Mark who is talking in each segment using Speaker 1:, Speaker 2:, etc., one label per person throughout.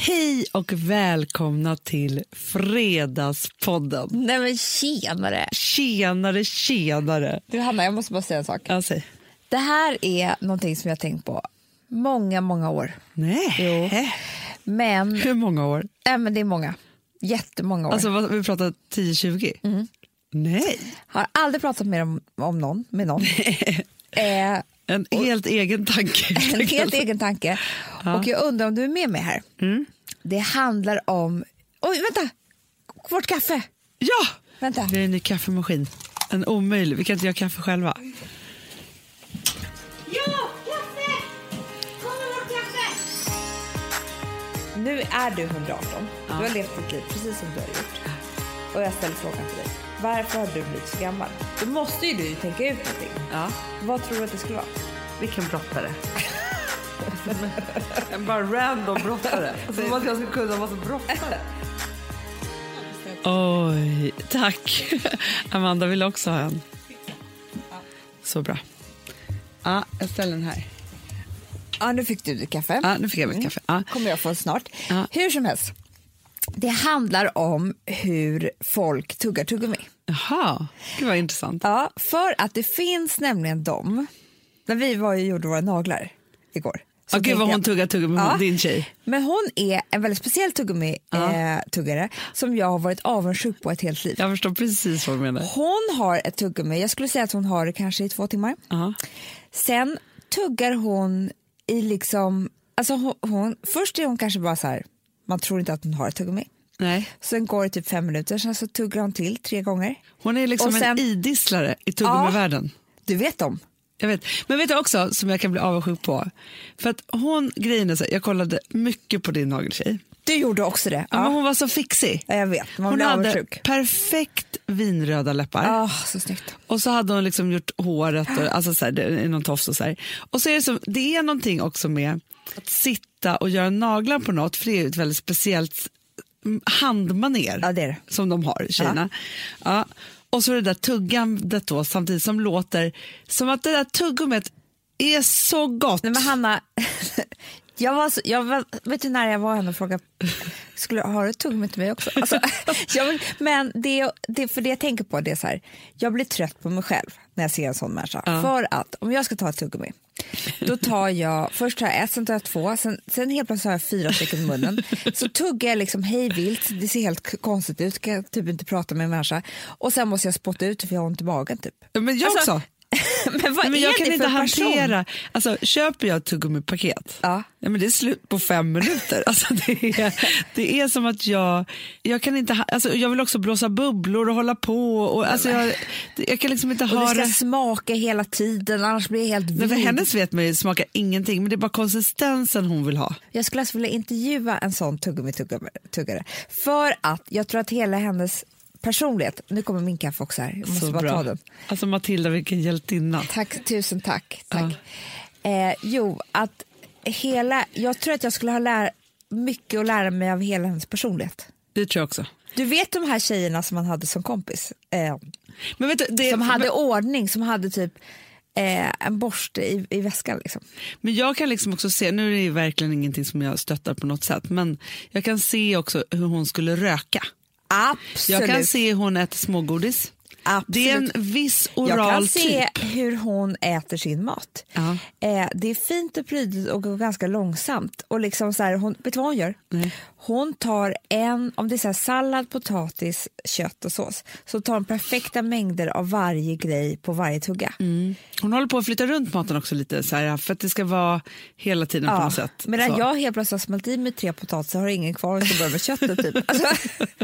Speaker 1: Hej och välkomna till Fredagspodden.
Speaker 2: Nej men tjenare!
Speaker 1: Tjenare, tjenare.
Speaker 2: Du Hanna, jag måste bara säga en sak.
Speaker 1: Alltså,
Speaker 2: Det här är någonting som jag har tänkt på många, många år.
Speaker 1: nej.
Speaker 2: Jo. Men,
Speaker 1: Hur många år?
Speaker 2: äh, men det är många. Jättemånga år.
Speaker 1: Alltså, vad, vi pratar 10-20? Nej,
Speaker 2: har aldrig pratat med om, om någon, med någon. eh,
Speaker 1: en helt egen tanke.
Speaker 2: en helt
Speaker 1: e-
Speaker 2: egen tanke. Och jag undrar om du är med mig här. Det handlar om... Oj, vänta! Vårt kaffe!
Speaker 1: Ja!
Speaker 2: Vänta.
Speaker 1: Vi har en ny kaffemaskin. En omöjlig. Vi kan inte göra kaffe själva.
Speaker 3: Ja, kaffe! Kom med vårt kaffe!
Speaker 2: Nu är du 118. Du har levt ditt liv precis som du har gjort. Och jag ställer frågan till dig. Varför har du blivit så gammal? Då måste ju du tänka ut någonting.
Speaker 1: Ja.
Speaker 2: Vad tror du att det skulle vara?
Speaker 1: Vilken brottare. en bara random brottare. Som att jag skulle kunna vara så brottare. Oj, tack. Amanda vill också ha en. Så bra. Ja, jag ställer den här.
Speaker 2: Ja, nu fick du ditt kaffe. Mm.
Speaker 1: Ja, nu fick jag mitt kaffe. Ja.
Speaker 2: kommer jag få snart.
Speaker 1: Ja.
Speaker 2: Hur som helst. Det handlar om hur folk tuggar tuggummi.
Speaker 1: Jaha, det var intressant.
Speaker 2: Ja, för att det finns nämligen de. När vi var ju gjorde våra naglar igår. så
Speaker 1: Åh, gud
Speaker 2: tänkte
Speaker 1: vad hon
Speaker 2: jag-
Speaker 1: tuggar tuggummi, med
Speaker 2: Ja.
Speaker 1: din tjej.
Speaker 2: Men hon är en väldigt speciell tuggummi-tuggare eh, tuggare som jag har varit avundsjuk på ett helt liv.
Speaker 1: Jag förstår precis vad du menar.
Speaker 2: Hon har ett tuggummi, jag skulle säga att hon har det kanske i två timmar.
Speaker 1: Ja.
Speaker 2: Sen tuggar hon i liksom, alltså hon, hon, först är hon kanske bara så här, man tror inte att hon har ett tuggummi.
Speaker 1: Nej.
Speaker 2: Sen går det typ fem minuter, sen så tuggar hon till tre gånger.
Speaker 1: Hon är liksom
Speaker 2: Och sen-
Speaker 1: en idisslare i tuggummivärlden.
Speaker 2: Du vet dem.
Speaker 1: Jag vet. Men vet du också som jag kan bli avundsjuk på? För att hon, grejen är så här, jag kollade mycket på din nageltjej.
Speaker 2: Du gjorde också det.
Speaker 1: Ja. Men
Speaker 2: Ja,
Speaker 1: hon var så fixig.
Speaker 2: ja jag vet, man
Speaker 1: Hon
Speaker 2: blir
Speaker 1: hade
Speaker 2: avundsjuk.
Speaker 1: perfekt vinröda läppar
Speaker 2: Ah, så snyggt.
Speaker 1: och så hade hon liksom gjort håret och, alltså så här, det är någon tofs och så här. Och så är det, som, det är någonting också med att sitta och göra naglar på något för det är ju ett väldigt speciellt mm, handmaner
Speaker 2: Ja, det är det.
Speaker 1: som de har, tjejerna. Ja. Och så det där tuggandet då samtidigt som låter som att det där tuggummit är så gott.
Speaker 2: Nej men Hanna, jag var så, jag var, vet du när jag var henne och frågade, skulle, har du ett tuggummi till mig också? Alltså, jag vill, men det, det, för det jag tänker på det är så här, jag blir trött på mig själv när jag ser en sån människa. För att om jag ska ta ett tuggummi, då tar jag, först tar jag ett, sen tar jag två, sen, sen helt plötsligt har jag fyra stycken i munnen. Så tuggar jag liksom hej vilt, det ser helt k- konstigt ut, kan jag typ inte prata med en människa. Och sen måste jag spotta ut för jag har ont i magen typ.
Speaker 1: men jag
Speaker 2: Alltså,
Speaker 1: också.
Speaker 2: Men vad
Speaker 1: Nej, men
Speaker 2: är
Speaker 1: jag
Speaker 2: det
Speaker 1: kan inte
Speaker 2: för person?
Speaker 1: hantera, alltså, köper jag ett tuggummipaket,
Speaker 2: Ja.
Speaker 1: Nej, men det är slut på fem minuter. Alltså, det, är, det är som att jag, jag kan inte, ha- alltså, jag vill också blåsa bubblor och hålla på. Och, alltså, jag, det- jag kan liksom inte
Speaker 2: Och
Speaker 1: ha
Speaker 2: det
Speaker 1: det.
Speaker 2: ska smaka hela tiden, annars blir det helt
Speaker 1: Nej, för
Speaker 2: vild.
Speaker 1: hennes vet man ju smakar ingenting, men det är bara konsistensen hon vill ha.
Speaker 2: Jag skulle alltså vilja intervjua en sån tuggummi-tuggare. För att jag tror att hela hennes personlighet... Nu kommer min kaffe också här. Jag måste
Speaker 1: Så
Speaker 2: bara
Speaker 1: bra.
Speaker 2: ta den.
Speaker 1: Alltså Matilda, vilken hjältinna.
Speaker 2: Tack, tusen tack. tack. Eh, jo, att hela... Jag tror att jag skulle ha lär, mycket att lära mig av hela hennes personlighet.
Speaker 1: Det tror jag också.
Speaker 2: Du vet de här tjejerna som man hade som kompis? Eh,
Speaker 1: Men vet du, det,
Speaker 2: som hade ordning, som hade typ eh, en borste i, i väskan. Liksom.
Speaker 1: Men jag kan liksom också se, nu är det ju verkligen ingenting som jag stöttar på något sätt, men jag kan se också hur hon skulle röka.
Speaker 2: Absolut.
Speaker 1: Jag kan se hur hon äter smågodis.
Speaker 2: Absolut.
Speaker 1: Det är en viss oral
Speaker 2: Jag kan
Speaker 1: typ.
Speaker 2: se hur hon äter sin mat.
Speaker 1: Ja.
Speaker 2: Eh, det är fint och prydligt och går ganska långsamt. Och liksom så här, hon, vet du vad hon gör? Hon tar en, om det är så här sallad, potatis, kött och sås, så tar hon perfekta mängder av varje grej på varje tugga.
Speaker 1: Mm, Hon håller på att flytta runt maten också lite så här, för att det ska vara hela tiden på
Speaker 2: Ja.
Speaker 1: något sätt.
Speaker 2: Medan
Speaker 1: så.
Speaker 2: jag helt plötsligt har smält i mig tre potatisar har ingen kvar och så börjar med köttet. Typ. Alltså,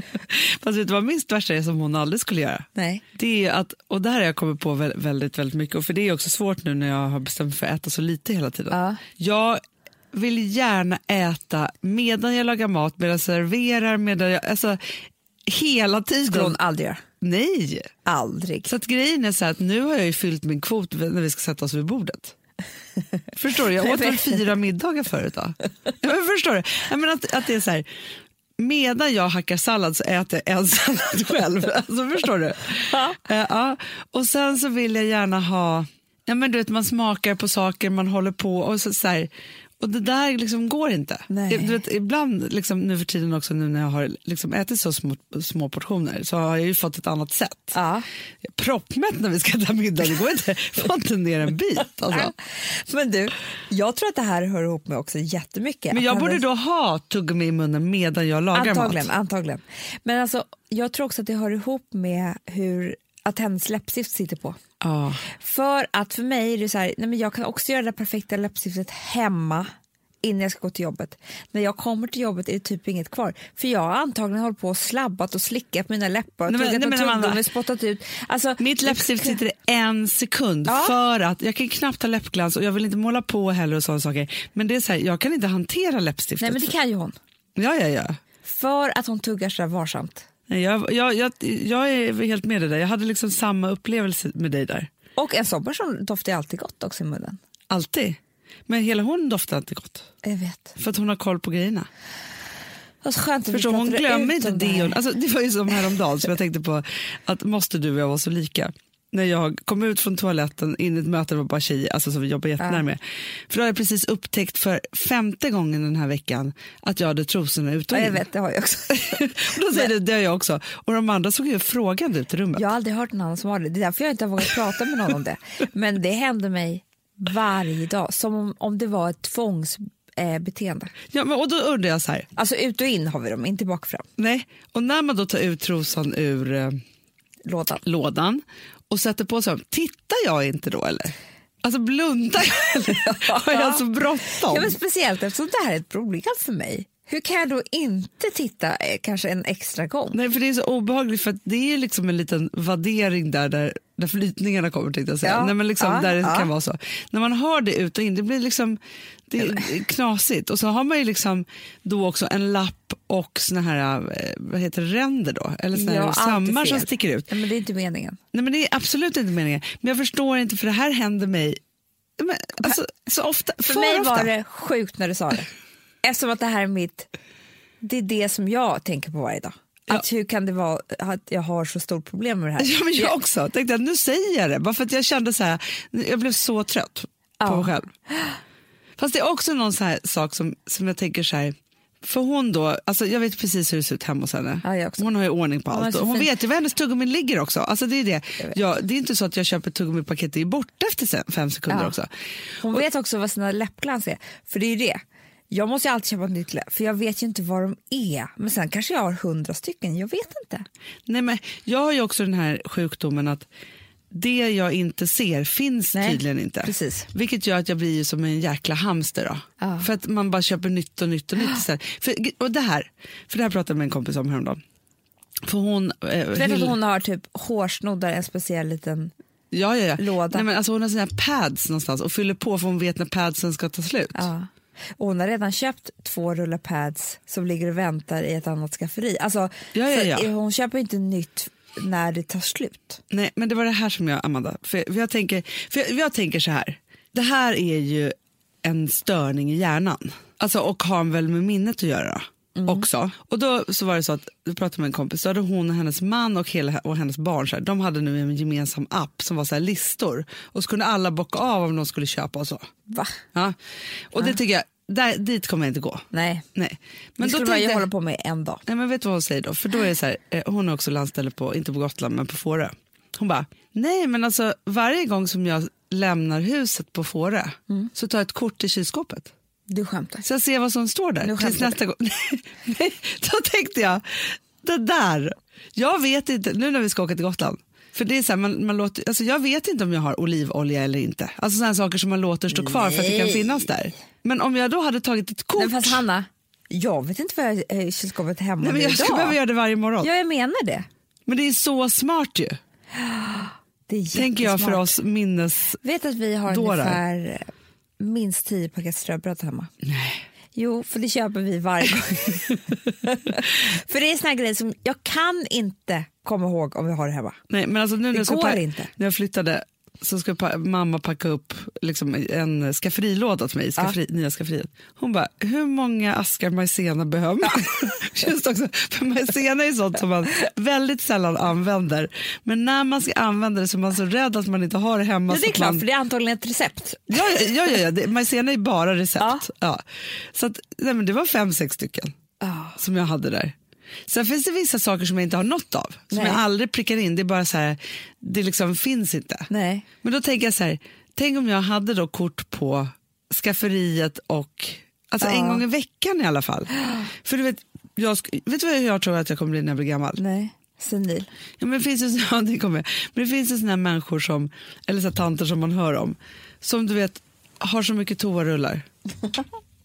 Speaker 1: Fast vet du vad minst värsta är som hon aldrig skulle göra?
Speaker 2: nej.
Speaker 1: Det är ju att, och det här har jag kommit på vä- väldigt, väldigt mycket, och för det är ju också svårt nu när jag har bestämt mig för att äta så lite hela tiden.
Speaker 2: Ja.
Speaker 1: Jag vill gärna äta medan jag lagar mat, medan jag serverar, medan jag, alltså hela
Speaker 2: skulle hon
Speaker 1: tiden.
Speaker 2: aldrig göra.
Speaker 1: Nej!
Speaker 2: Aldrig.
Speaker 1: Typ. Så att grejen är så här att nu har jag ju fyllt min kvot när vi ska sätta oss vid bordet. Förstår du? Jag åt väl fyra middagar förut då? Ja, Men förstår du? Jag menar att, att det är så här, medan jag hackar sallad så äter jag en sallad själv. Alltså, förstår du?
Speaker 2: Ja.
Speaker 1: Eh, ja. Och sen så vill jag gärna ha, ja, men du vet man smakar på saker, man håller på och så, så här, Och det där liksom går inte.
Speaker 2: Nej.
Speaker 1: Du vet, ibland liksom, nu för tiden också nu när jag har liksom ätit så små, små portioner så har jag ju fått ett annat sätt.
Speaker 2: Ja.
Speaker 1: Jag är Proppmätt när vi ska äta middag, det går inte. Jag får inte ner en bit. Alltså.
Speaker 2: Men du, jag tror att det här hör ihop med också jättemycket.
Speaker 1: Men
Speaker 2: Att
Speaker 1: jag
Speaker 2: han
Speaker 1: borde
Speaker 2: är-
Speaker 1: då ha tuggummi i munnen medan jag lagar
Speaker 2: antagligen,
Speaker 1: mat.
Speaker 2: antagligen. Men alltså, jag tror också att det hör ihop med hur att hennes läppstift sitter på.
Speaker 1: Ja.
Speaker 2: För att för mig är det så här, nej men jag kan också göra det där perfekta läppstiftet hemma innan jag ska gå till jobbet. När jag kommer till jobbet är det typ inget kvar. För jag har antagligen hållit på och slabbat och slickat mina läppar och
Speaker 1: Nej, men-
Speaker 2: tuggat
Speaker 1: nej,
Speaker 2: med
Speaker 1: men Amanda.
Speaker 2: tuggummi och spottat ut. Alltså,
Speaker 1: Mitt läppstift sitter i en sekund
Speaker 2: Ja.
Speaker 1: för att jag kan knappt ha läppglans och jag vill inte måla på heller och sådana saker. Men det är så här, jag kan inte hantera läppstiftet.
Speaker 2: Nej men det kan ju hon.
Speaker 1: Ja, ja, ja.
Speaker 2: För att hon tuggar så där varsamt.
Speaker 1: Nej, Jag, jag, jag, jag är helt med dig där. Jag hade liksom samma upplevelse med dig där.
Speaker 2: Och en sommar som doftar ju alltid gott också i munnen.
Speaker 1: Alltid. Men hela hon doftar inte gott
Speaker 2: Jag vet.
Speaker 1: för att hon har koll på grejerna.
Speaker 2: Vad skönt att vi
Speaker 1: Förstår, hon
Speaker 2: pratade
Speaker 1: glömmer
Speaker 2: ut
Speaker 1: inte
Speaker 2: om
Speaker 1: det.
Speaker 2: här.
Speaker 1: Hon, alltså, det var ju som häromdagen som jag tänkte på att måste du och jag vara så lika? När jag kom ut från toaletten in i ett möte, det var bara tjejer alltså, som vi jobbar jättenära med. För då har jag precis upptäckt för femte gången den här veckan att jag hade trosorna ut och
Speaker 2: Ja, jag
Speaker 1: in.
Speaker 2: vet, det har jag också.
Speaker 1: Och då säger du, det har jag också. Och de andra såg ju frågande ut i rummet.
Speaker 2: Jag har aldrig hört någon annan som har det. Det är därför jag inte har vågat prata med någon om det. Men det händer mig varje dag, som om, om det var ett tvångsbeteende. Eh, beteende.
Speaker 1: Ja, men, och då undrar jag så här,
Speaker 2: alltså ut och in har vi dem, inte bak och fram.
Speaker 1: Nej, och när man då tar ut trosan ur eh,
Speaker 2: Lådan.
Speaker 1: lådan och sätter på sig dem, tittar jag inte då eller? Alltså blundar jag eller? Har jag så bråttom?
Speaker 2: Ja, men speciellt eftersom det här är ett problem för mig. Hur kan jag då inte titta eh, kanske en extra gång?
Speaker 1: Nej, för det är så obehagligt för att det är liksom en liten vaddering där, där, där flytningarna kommer tänkte jag säga.
Speaker 2: Ja,
Speaker 1: Nej, men liksom,
Speaker 2: ja,
Speaker 1: där det
Speaker 2: ja.
Speaker 1: kan vara så. När man har det ut och in, det blir liksom det är knasigt. Och så har man ju liksom då också en lapp och såna här, eh, vad heter det, ränder då? Eller såna här
Speaker 2: Ja, allt är
Speaker 1: sömmar som
Speaker 2: fel.
Speaker 1: sticker ut.
Speaker 2: Nej, men det är inte meningen.
Speaker 1: Nej, men det är absolut inte meningen. Men jag förstår inte, för det här händer mig men, alltså, så ofta.
Speaker 2: För,
Speaker 1: för
Speaker 2: mig
Speaker 1: ofta.
Speaker 2: var det sjukt när du sa det. Eftersom att det här är mitt... Det är det som jag tänker på varje dag. Att hur kan det vara att jag har så stort problem med det här?
Speaker 1: Ja, men jag också. Tänkte att nu säger jag det. Bara för att jag kände så här, jag blev så trött på
Speaker 2: Ja.
Speaker 1: mig själv. Fast det är också någon så här sak som, som jag tänker så här, för hon då, alltså jag vet precis hur det ser ut hemma hos henne.
Speaker 2: Ja, jag också.
Speaker 1: hon har ju ordning på
Speaker 2: Hon är
Speaker 1: allt.
Speaker 2: så
Speaker 1: Och hon
Speaker 2: fin.
Speaker 1: vet ju var hennes tuggummin ligger också. Alltså det är det.
Speaker 2: vet.
Speaker 1: Ja, det är inte så att jag köper tuggummipaket, det är borta efter sen- fem sekunder
Speaker 2: Ja.
Speaker 1: också.
Speaker 2: Hon vet också vad sina läppglans är. För det är ju det. Jag måste ju alltid köpa ett nytt läpp, för jag vet ju inte vad de är. Men sen kanske jag har hundra stycken, jag vet inte.
Speaker 1: Nej, men jag har ju också den här sjukdomen att det jag inte ser finns
Speaker 2: Nej,
Speaker 1: tydligen inte.
Speaker 2: precis.
Speaker 1: Vilket gör att jag blir ju som en jäkla hamster. Då.
Speaker 2: Ja.
Speaker 1: För att man bara köper nytt och nytt och nytt. istället. För, och det här, för det här pratade jag med en kompis om häromdagen. För hon, eh,
Speaker 2: Jag vet
Speaker 1: hyll-
Speaker 2: att hon har typ hårsnoddar, en speciell liten...
Speaker 1: ja, ja, ja.
Speaker 2: låda.
Speaker 1: Nej, men alltså hon har sina pads någonstans och fyller på för hon vet när padsen ska ta slut.
Speaker 2: Ja. Och hon har redan köpt två rullar pads som ligger och väntar i ett annat skafferi. Alltså,
Speaker 1: Ja, ja,
Speaker 2: för
Speaker 1: ja.
Speaker 2: Hon köper inte nytt när det tar slut.
Speaker 1: Nej, men det var det här som jag, Amanda, för jag, tänker, för jag, jag tänker så här. Det här är ju en störning i hjärnan alltså, och har väl med minnet att göra. också. Och då så var det så att jag pratade med en kompis, då hade hon och hennes man och, hela, och hennes barn, så här, de hade nu en gemensam app som var så här listor och så kunde alla bocka av om de skulle köpa och så.
Speaker 2: Va?
Speaker 1: Ja. Och det tycker jag, där, dit kommer jag inte gå.
Speaker 2: Nej,
Speaker 1: Nej.
Speaker 2: men det skulle man ju
Speaker 1: tänkte jag-
Speaker 2: hålla på med en dag.
Speaker 1: Nej, men vet du vad hon säger då? För då är det så här, eh, hon har också landställe på, inte på Gotland, men på Fårö. Hon bara, nej men alltså varje gång som jag lämnar huset på Fårö
Speaker 2: Mm.
Speaker 1: så tar jag ett kort i kylskåpet.
Speaker 2: Du skämtar.
Speaker 1: Så jag ser vad som står där
Speaker 2: Nu
Speaker 1: tills
Speaker 2: skämtar
Speaker 1: nästa gång. nej, då tänkte jag, det där, jag vet inte, nu när vi ska åka till Gotland, för det är så här, man, man låter, alltså jag vet inte om jag har olivolja eller inte. Alltså sådana saker som man låter stå kvar för att det kan
Speaker 2: Nej.
Speaker 1: finnas där. Men om jag då hade tagit ett kort,
Speaker 2: Nej, fast Hanna, jag vet inte vad jag har i kylskåpet hemma
Speaker 1: nej, men
Speaker 2: med
Speaker 1: jag skulle
Speaker 2: idag.
Speaker 1: behöva göra det varje morgon.
Speaker 2: Ja, jag menar det.
Speaker 1: Men det är så smart ju.
Speaker 2: Det är
Speaker 1: tänker jag för
Speaker 2: jättesmart.
Speaker 1: oss minnes...
Speaker 2: Vet att vi har
Speaker 1: dårar.
Speaker 2: ungefär eh, minst tio paket ströbröd hemma. Jo, för det köper vi varje gång. för det är såna här grejer som jag kan inte komma ihåg om vi har det hemma.
Speaker 1: Nej, men alltså nu när
Speaker 2: Det
Speaker 1: jag ska
Speaker 2: går
Speaker 1: pa-
Speaker 2: inte.
Speaker 1: När jag flyttade så ska pa- mamma packa upp liksom en skafferilåda till mig, skafferi, nya skafferiet. Hon bara, hur många askar majsena behöver man? Just också, för majsena är ju sånt som man väldigt sällan använder. Men när man ska använda det så är man så rädd att man inte har det hemma.
Speaker 2: Ja, det
Speaker 1: så
Speaker 2: är
Speaker 1: att
Speaker 2: klart,
Speaker 1: man...
Speaker 2: för det är antagligen ett recept.
Speaker 1: Ja, ja, ja, ja, ja. Det, majsena är bara recept.
Speaker 2: Ja.
Speaker 1: Ja. Så att, nej, men det var fem, sex stycken som jag hade där. Sen finns det vissa saker som jag inte har något av, som
Speaker 2: Nej.
Speaker 1: jag aldrig prickar in. Det är bara så här, det liksom finns inte.
Speaker 2: Nej.
Speaker 1: Men då tänker jag så här, tänk om jag hade då kort på skafferiet och, alltså en gång i veckan i alla fall. För du vet, jag, sk- vet du vad jag tror att jag kommer bli när jag blir gammal?
Speaker 2: Nej, senil.
Speaker 1: Ja, men det finns ju så- ja, det kommer jag. Men det finns ju såna här människor som, eller så här tanter som man hör om, som du vet har så mycket toarullar.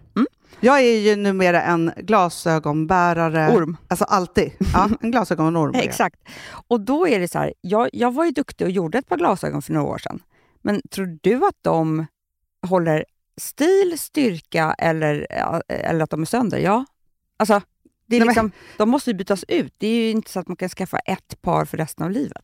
Speaker 4: Mm.
Speaker 1: Jag är ju numera en glasögonbärare.
Speaker 4: Orm.
Speaker 1: Alltså alltid. Ja, en glasögonorm. är jag.
Speaker 4: Exakt. Och då är det så här, jag, jag var ju duktig och gjorde ett par glasögon för några år sedan. Men tror du att de håller stil, styrka eller, ja, eller att de är sönder? Ja. Alltså, det
Speaker 1: Nej,
Speaker 4: är
Speaker 1: men-
Speaker 4: liksom, de måste ju bytas ut. Det är ju inte så att man kan skaffa ett par för resten av livet.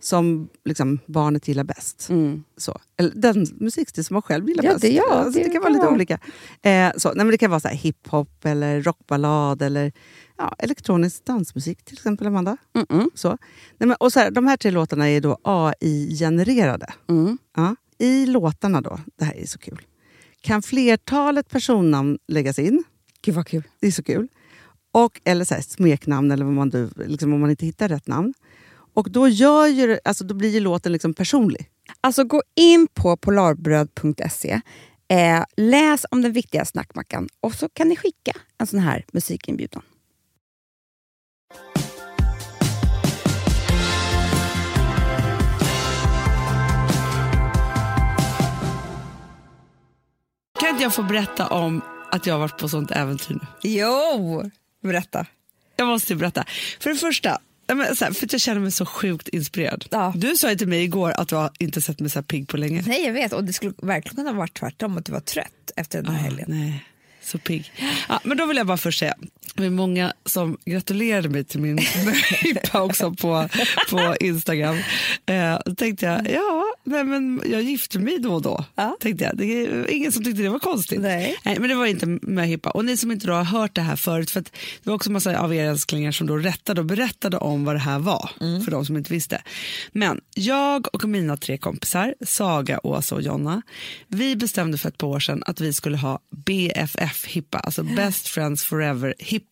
Speaker 1: som liksom, barnet gillar bäst. Så. Eller den musikstil som man själv gillar
Speaker 4: Mm. Ja,
Speaker 1: bäst.
Speaker 4: det- ja,
Speaker 1: alltså, det,
Speaker 4: det
Speaker 1: kan vara lite
Speaker 4: kan vara.
Speaker 1: olika. Eh, så. Nej, men det kan vara så här hiphop, eller rockballad eller ja, elektronisk dansmusik till exempel, Amanda.
Speaker 4: Mm.
Speaker 1: Så. Nej, men, och så här, de här tre låtarna är då AI-genererade. Ja.
Speaker 5: I låtarna då, det här är så kul, kan flertalet personnamn läggas in.
Speaker 4: Gud vad kul.
Speaker 5: Det är så kul. Och, eller så här, smeknamn, eller vad man, du- liksom, om man inte hittar rätt namn. Och då, gör ju, det- alltså, då blir ju låten liksom personlig.
Speaker 4: Alltså gå in på polarbröd.se, eh, läs om den viktiga snackmackan och så kan ni skicka en sån här musikinbjudan.
Speaker 1: Kan inte jag få berätta om att jag har varit på sånt äventyr nu?
Speaker 2: Jo! Berätta.
Speaker 1: Jag måste ju berätta. För det första, ja, men så här, för att jag känner mig så sjukt inspirerad.
Speaker 2: Ja.
Speaker 1: Du sa ju till mig igår att du har inte sett mig så här pigg på länge.
Speaker 2: Nej, jag vet. Och det skulle verkligen kunna vara tvärtom, att du var trött efter den här
Speaker 1: Ja,
Speaker 2: helgen.
Speaker 1: Nej, så pigg. Ja, men då vill jag bara först säga, det är många som gratulerade mig till min möhippa också på, på Instagram. Eh, då tänkte jag, ja, nej, men jag gifte mig då och då.
Speaker 2: Ja.
Speaker 1: Tänkte jag. Det är ingen som tyckte det var konstigt.
Speaker 2: Nej.
Speaker 1: men det var inte möhippa. Och ni som inte då har hört det här förut, för att det var också massa av er älsklingar som då rättade och berättade om vad det här var, för de som inte visste. Men jag och mina tre kompisar, Saga, Åsa och Jonna, vi bestämde för ett par år sedan att vi skulle ha BFF-hippa, alltså Best Friends Forever-hippa.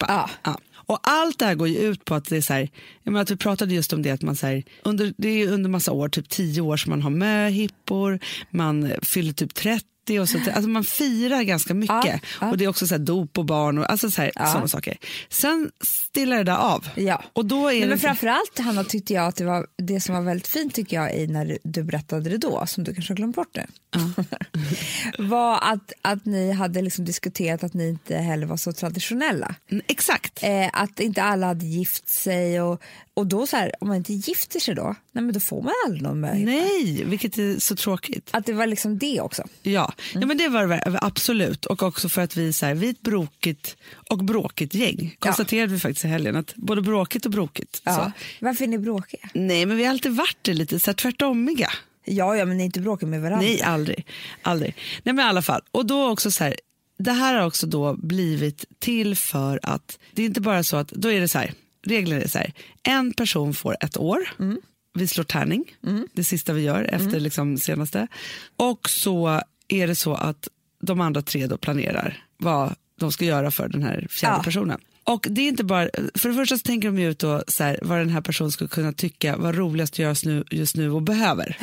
Speaker 2: Ja.
Speaker 1: Och allt det här går ju ut på att det är så här, jag menar att vi pratade just om det att man så här, under, det är ju under massa år, typ tio år som man har möhippor, man fyller typ 30 och så, alltså man firar ganska mycket och det är också så här dop och barn och alltså så här, sådana saker. Sen stillar det där av.
Speaker 2: Ja.
Speaker 1: Och då är
Speaker 2: Nej, men
Speaker 1: det,
Speaker 2: framförallt Hanna tyckte jag att det var det som var väldigt fint tycker jag i när du berättade det då, som du kanske har glömt bort nu. var att, att ni hade liksom diskuterat att ni inte heller var så traditionella.
Speaker 1: Mm, Exakt.
Speaker 2: Eh, att inte alla hade gift sig och, och då så här, om man inte gifter sig då, nej men då får man aldrig någon möjlighet.
Speaker 1: Nej, vilket är så tråkigt.
Speaker 2: Att det var liksom det också.
Speaker 1: Ja,
Speaker 2: Mm.
Speaker 1: ja men det var det ver- absolut. Och också för att vi, så här, vi är ett brokigt och bråkigt gäng. Konstaterade vi faktiskt i helgen. Att både bråkigt och brokigt. Så.
Speaker 2: Ja. Varför är ni bråkiga?
Speaker 1: Nej, men vi har alltid varit det lite så här, tvärtomiga.
Speaker 2: Ja, ja, men ni är inte bråkiga med varandra.
Speaker 1: Nej, aldrig. aldrig. Nej, men i alla fall. Och då också så här, det här har också då blivit till för att det är inte bara så att, då är det så här, reglerna är så här, en person får ett år, vi slår tärning, det sista vi gör efter liksom senaste, och så är det så att de andra tre då planerar vad de ska göra för den här fjärde
Speaker 2: Ja.
Speaker 1: personen. Och det är inte bara, för det första så tänker de ju ut då, så här, vad den här personen skulle kunna tycka var roligast att göra nu, just nu och behöver.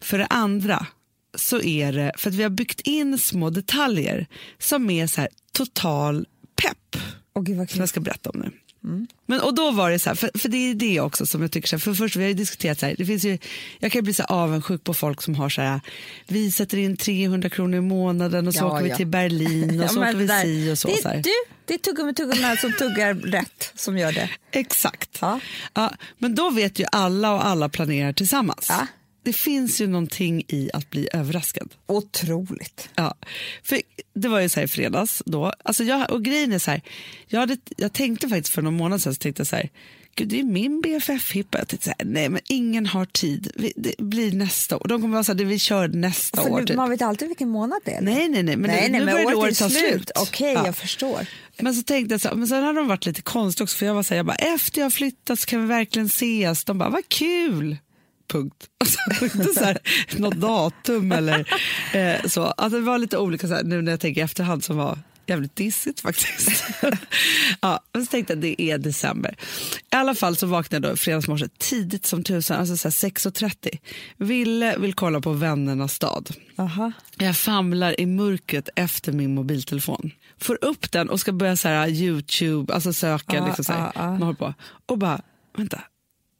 Speaker 1: För det andra så är det för att vi har byggt in små detaljer som är så här total pepp
Speaker 2: Åh gud vad
Speaker 1: som
Speaker 2: kul.
Speaker 1: jag ska berätta om nu.
Speaker 2: Mm.
Speaker 1: Men, och då var det så här, för, för det är det också som jag tycker, så här, för först vi har ju diskuterat så här, det finns ju, jag kan ju bli så här avundsjuk på folk som har så här, vi sätter in 300 kronor i månaden och så
Speaker 2: Ja,
Speaker 1: åker
Speaker 2: ja.
Speaker 1: vi till Berlin och så
Speaker 2: men
Speaker 1: åker vi
Speaker 2: där-
Speaker 1: si och så.
Speaker 2: det,
Speaker 1: så här.
Speaker 2: Du, det är tuggummi tuggummi som tuggar rätt som gör det.
Speaker 1: Exakt.
Speaker 2: Ja.
Speaker 1: Ja, men då vet ju alla och alla planerar tillsammans.
Speaker 2: Ja.
Speaker 1: Det finns ju någonting i att bli överraskad.
Speaker 2: Otroligt.
Speaker 1: Ja, för det var ju så här i fredags då. Alltså jag, och grejen är så här, jag, hade, jag tänkte faktiskt för någon månad sedan så tänkte jag så här, gud det är min BFF-hippa. Jag tänkte så här, nej men ingen har tid, vi, det blir nästa år. De kommer vara så här, det vi kör nästa
Speaker 2: För
Speaker 1: år
Speaker 2: Alltså, nu,
Speaker 1: typ.
Speaker 2: Man vet alltid vilken månad det är.
Speaker 1: Nej, nej, nej, men
Speaker 2: nej,
Speaker 1: nu-
Speaker 2: nej,
Speaker 1: nu
Speaker 2: men
Speaker 1: börjar
Speaker 2: året
Speaker 1: det
Speaker 2: är
Speaker 1: året ta
Speaker 2: slut.
Speaker 1: slut.
Speaker 2: Okej,
Speaker 1: Ja.
Speaker 2: jag förstår.
Speaker 1: Men så tänkte jag så här, men sen hade de varit lite konstiga också för jag var så här, jag bara, efter jag har flyttat så kan vi verkligen ses. De bara, vad kul! Punkt. Alltså, inte så här, något datum eller eh, så. Alltså, det var lite olika så här, nu när jag tänker i efterhand som var jävligt dissigt faktiskt. ja, men så tänkte jag det är december. I alla fall så vaknade jag då i fredags morse tidigt som tusan, alltså så här 6.30. Ville vill kolla på Vännernas stad.
Speaker 2: Aha.
Speaker 1: Jag famlar i mörkret efter min mobiltelefon. Får upp den och ska börja så här, ah, Youtube, alltså söka.
Speaker 2: Ah,
Speaker 1: liksom så här,
Speaker 2: ah, ah.
Speaker 1: Man håller på. Och bara, vänta,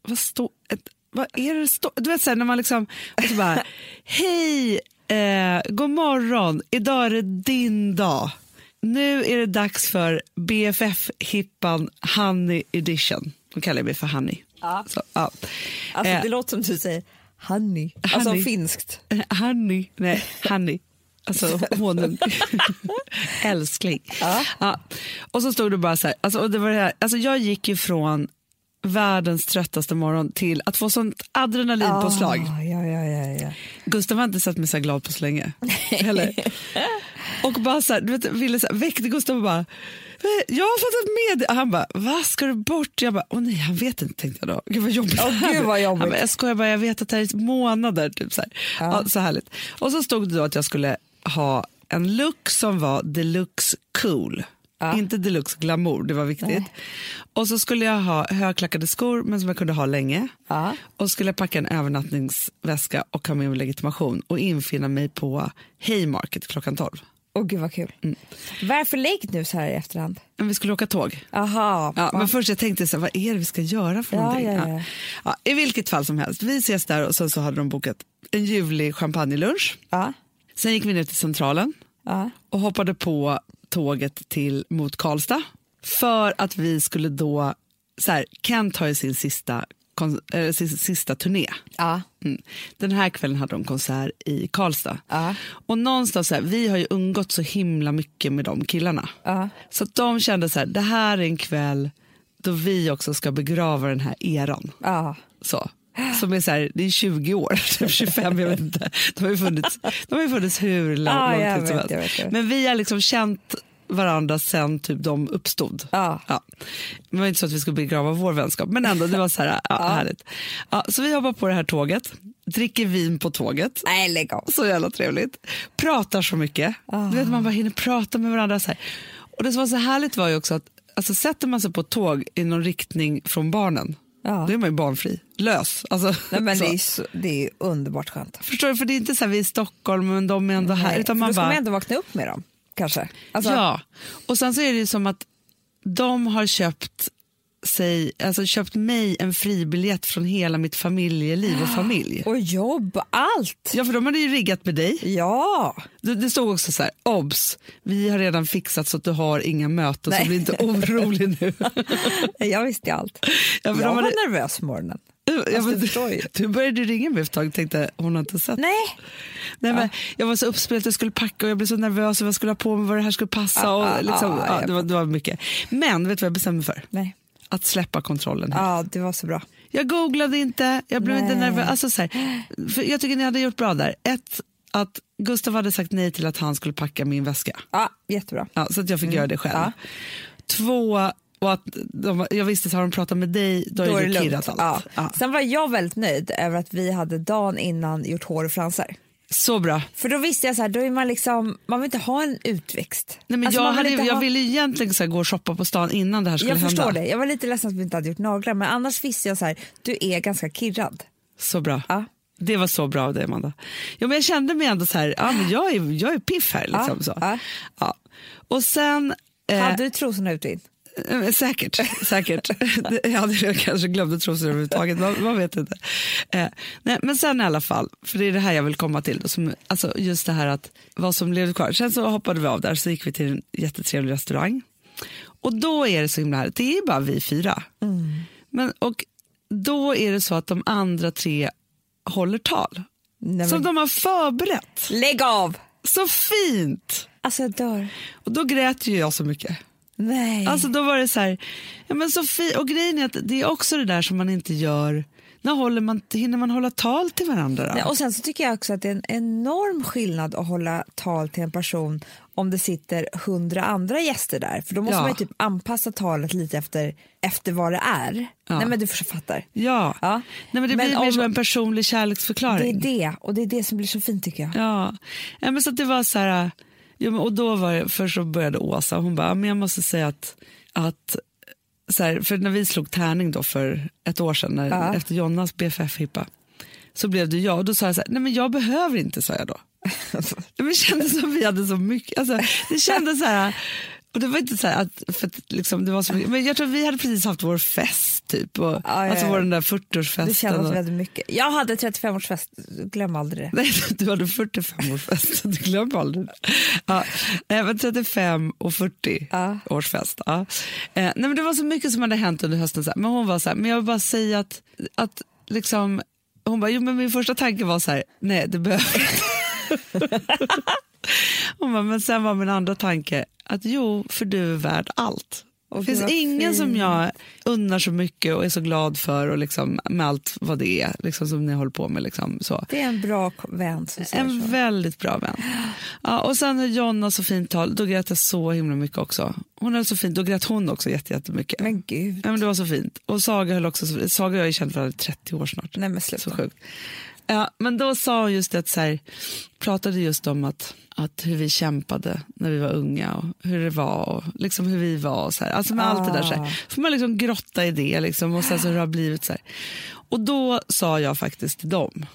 Speaker 1: vad står... ett- Vad är det det står? Du vet så här, när man liksom... Och så bara, hej, eh, god morgon, idag är det din dag. Nu är det dags för BFF-hippan Honey Edition. De kallar mig för Honey. Så, ja.
Speaker 2: Alltså,
Speaker 1: Eh,
Speaker 2: Det låter som du säger honey, alltså
Speaker 1: Honey.
Speaker 2: finskt.
Speaker 1: Honey. Eh, Nej, honey. Alltså honung. Älskling. Ja. Och så stod det bara så här. Alltså, och det var det här. Alltså, jag gick ju från världens tröttaste morgon till att få sånt adrenalinpåslag.
Speaker 2: Ah, ja, ja, ja, ja.
Speaker 1: Gustav har inte sett mig så här glad på så länge. Heller. Och bara så här, du vet, ville så här, väckte Gustav och bara, Jag har fått ett med Han bara, vad ska du bort? Jag bara, åh nej, han vet inte tänkte jag då. Gud vad jobbigt.
Speaker 2: Åh,
Speaker 1: det här
Speaker 2: gud,
Speaker 1: blir.
Speaker 2: vad jobbigt.
Speaker 1: Han bara, jag skojar bara, jag vet att det här är månader. Typ så, här. Ja. så härligt. Och så stod det då att jag skulle ha en look som var deluxe cool. Inte deluxe glamour, det var viktigt. Och så skulle jag ha högklackade skor, men som jag kunde ha länge.
Speaker 2: Ja.
Speaker 1: Och skulle jag packa en övernattningsväska och ha med mig legitimation och infinna mig på Haymarket klockan 12.
Speaker 2: Åh gud vad kul.
Speaker 1: Mm.
Speaker 2: Varför lek nu så här i efterhand?
Speaker 1: Men vi skulle åka tåg.
Speaker 2: Aha.
Speaker 1: Ja, men först jag tänkte så här, vad är det vi ska göra för
Speaker 2: Ja,
Speaker 1: någonting?
Speaker 2: ja, ja.
Speaker 1: Ja, I vilket fall som helst, vi ses där och sen så hade de bokat en ljuvlig champagnelunch.
Speaker 2: Ja.
Speaker 1: Sen gick vi ner till Centralen
Speaker 2: Ja.
Speaker 1: och hoppade på tåget till, mot Karlstad för att vi skulle då, så här, Kent har ju sin sista, kon, eh, sin sista turné.
Speaker 2: Ja.
Speaker 1: Mm. Den här kvällen hade de konsert i Karlstad.
Speaker 2: Ja.
Speaker 1: Och någonstans så här, vi har ju umgått så himla mycket med de killarna.
Speaker 2: Ja.
Speaker 1: Så att de kände så här, det här är en kväll då vi också ska begrava den här eran.
Speaker 2: Ja.
Speaker 1: Så. Som är så här, det är 20 år, typ 25, jag vet inte. De har ju funnits, de har ju funnits hur lång,
Speaker 2: Ja, jag
Speaker 1: lång tid som
Speaker 2: vet, jag vet, jag
Speaker 1: helst.
Speaker 2: vet.
Speaker 1: Men vi har liksom känt varandra sen typ de uppstod.
Speaker 2: Ja.
Speaker 1: Ja. Det var inte så att vi skulle begrava vår vänskap, men ändå, det var så här, ja, härligt. Ja, så vi hoppar på det här tåget, dricker vin på tåget.
Speaker 2: Nej lägg av.
Speaker 1: Så jävla trevligt. Pratar så mycket.
Speaker 2: Ah.
Speaker 1: Du vet, man bara hinner prata med varandra. Så här. Och det som var så härligt var ju också att alltså, sätter man sig på ett tåg i någon riktning från barnen,
Speaker 2: Ja.
Speaker 1: då är man ju barnfri. Lös. Alltså,
Speaker 2: Nej, men
Speaker 1: så.
Speaker 2: det, är så, det är ju underbart skönt.
Speaker 1: Förstår du? För det är inte så här, vi är i Stockholm men de är ändå här.
Speaker 2: Nej,
Speaker 1: utan
Speaker 2: för
Speaker 1: man
Speaker 2: då ska
Speaker 1: bara,
Speaker 2: man ändå vakna upp med dem. Kanske. Alltså,
Speaker 1: Ja, och sen så är det ju som att de har köpt sig, alltså köpt mig en fribiljett från hela mitt familjeliv
Speaker 2: Ah.
Speaker 1: och familj.
Speaker 2: Och jobb, allt.
Speaker 1: Ja, för de hade ju riggat med dig.
Speaker 2: Ja.
Speaker 1: Det, det stod också så här, obs, vi har redan fixat så att du har inga möten så
Speaker 2: Nej.
Speaker 1: bli inte orolig nu.
Speaker 2: Jag visste ju allt.
Speaker 1: Ja,
Speaker 2: jag
Speaker 1: för de
Speaker 2: var
Speaker 1: hade,
Speaker 2: nervös på morgonen.
Speaker 1: ja, men,
Speaker 2: det förstår
Speaker 1: du,
Speaker 2: ju.
Speaker 1: du började ringa mig för ett tag och tänkte hon har inte sett.
Speaker 2: Nej.
Speaker 1: Nej, men, jag var så uppspelt, jag skulle packa och jag blev så nervös och vad jag skulle ha på mig, vad det här skulle passa.
Speaker 2: Ah,
Speaker 1: och,
Speaker 2: ah,
Speaker 1: liksom,
Speaker 2: ah,
Speaker 1: ja,
Speaker 2: jag
Speaker 1: det, var, det var mycket. Men vet du vad jag bestämde mig för?
Speaker 2: Nej.
Speaker 1: Att släppa kontrollen. här.
Speaker 2: Ja, det var så bra.
Speaker 1: Jag googlade inte, jag blev inte
Speaker 2: Nej.
Speaker 1: nervös. Alltså, så här, för jag tycker ni hade gjort bra där. Ett, att Gustav hade sagt nej till att han skulle packa min väska.
Speaker 2: Ja, jättebra.
Speaker 1: Ja, så att jag fick göra det själv.
Speaker 2: Mm. Ja.
Speaker 1: Två, och att de, jag visste att har de pratat med dig då, är det kirrat allt.
Speaker 2: Ja.
Speaker 1: Ja.
Speaker 2: Sen var jag väldigt nöjd över att vi hade dagen innan gjort hår och fransar.
Speaker 1: Så bra.
Speaker 2: För då visste jag så här, då är man liksom, man vill inte ha en utväxt.
Speaker 1: Nej, men
Speaker 2: Alltså,
Speaker 1: jag,
Speaker 2: man vill
Speaker 1: hade,
Speaker 2: inte
Speaker 1: jag
Speaker 2: ha-
Speaker 1: ville ju egentligen så här, gå och shoppa på stan innan det här skulle
Speaker 2: jag
Speaker 1: hända.
Speaker 2: förstår det, jag var lite ledsen att vi inte hade gjort naglar men annars visste jag så här, du är ganska kirrad.
Speaker 1: Så bra.
Speaker 2: Ja.
Speaker 1: Det var så bra av dig, Amanda. Jo, men jag kände mig ändå så här, ja, men jag, är, jag är piff här. Liksom,
Speaker 2: Ja,
Speaker 1: så.
Speaker 2: ja.
Speaker 1: Ja. Och sen... eh,
Speaker 2: Hade du trosorna utvind?
Speaker 1: Eh, Säkert, säkert. Det- jag hade jag kanske glömde trosor överhuvudtaget, man, man vet inte. Eh, nej, men sen i alla fall, för det är det här jag vill komma till, då, som, alltså just det här att vad som levde kvar. Sen så hoppade vi av där, så gick vi till en jättetrevlig restaurang. Och då är det så himla här, det är ju bara vi fyra.
Speaker 2: Mm.
Speaker 1: Men, och då är det så att de andra tre håller tal,
Speaker 2: Nej,
Speaker 1: som
Speaker 2: men...
Speaker 1: de har förberett.
Speaker 2: Lägg av!
Speaker 1: Så fint!
Speaker 2: Alltså jag dör.
Speaker 1: Och då grät ju jag så mycket.
Speaker 2: Nej.
Speaker 1: Alltså då var det så här, ja men Sofie, och grejen är att det är också det där som man inte gör, när håller man, hinner man hålla tal till varandra då?
Speaker 2: Nej, och sen så tycker jag också att det är en enorm skillnad att hålla tal till en person om det sitter hundra andra gäster där. För då måste
Speaker 1: Ja.
Speaker 2: man ju typ anpassa talet lite efter, efter vad det är. Nej men du förstår- fattar.
Speaker 1: ja.
Speaker 2: Ja.
Speaker 1: Nej, men det
Speaker 2: Men
Speaker 1: blir mer
Speaker 2: om-
Speaker 1: som en personlig
Speaker 2: Det är
Speaker 1: kärleksförklaring.
Speaker 2: det och det är det som blir så fint tycker jag.
Speaker 1: Ja. ja, men så att det var så här, ja, men, och då var det, först så började Åsa, hon bara, ja, men jag måste säga att, att så här, för när vi slog tärning då för ett år sedan, när,
Speaker 2: Ja.
Speaker 1: efter Jonas BFF-hippa, så blev det jag och då sa jag så här, nej men jag behöver inte, sa jag då. Men det kändes som vi hade så mycket. Alltså, det kändes så här... Och det var inte så här att, för att liksom, det var så mycket, men jag tror vi hade precis haft vår fest typ. Och,
Speaker 2: ja,
Speaker 1: alltså
Speaker 2: ja.
Speaker 1: vår den där
Speaker 2: Det kändes
Speaker 1: 40-årsfesten. Och,
Speaker 2: väldigt mycket. Jag hade 35-årsfest, glöm aldrig det.
Speaker 1: nej, du hade 45-årsfest, du glömmer aldrig det. ja, nej, men 35 och 40
Speaker 2: Ja.
Speaker 1: årsfest. Ja. Eh, nej, men det var så mycket som hade hänt under hösten. Så här. Men hon var så här, men jag vill bara säga att, att liksom, hon bara, jo men min första tanke var så här, nej det behöver Hon bara, men sen var min andra tanke att jo, för du är värd allt. Det finns ingen som jag unnar så mycket och är så glad för och liksom, med allt vad det är liksom, som ni håller på med. Liksom, så.
Speaker 2: Det är en bra k- vän som säger
Speaker 1: En
Speaker 2: så.
Speaker 1: väldigt bra vän. Ja, och sen när Jonna så fint tal, då grät jag så himla mycket också. Hon höll så fint, då grät hon också jätte- jättemycket.
Speaker 2: Men gud.
Speaker 1: Ja, men det var så fint. Och Saga höll också så, Saga och jag är känd för att 30 år snart.
Speaker 2: Nej men sluta.
Speaker 1: Så sjukt. Ja, men då sa hon just det, att så här, pratade just om att, att hur vi kämpade när vi var unga och hur det var och liksom hur vi var. Och så här. Alltså med allt det där. Så
Speaker 2: Ah.
Speaker 1: här. får man liksom grotta i det liksom, och sen så hur det har blivit. Så här. Och då sa jag faktiskt till dem,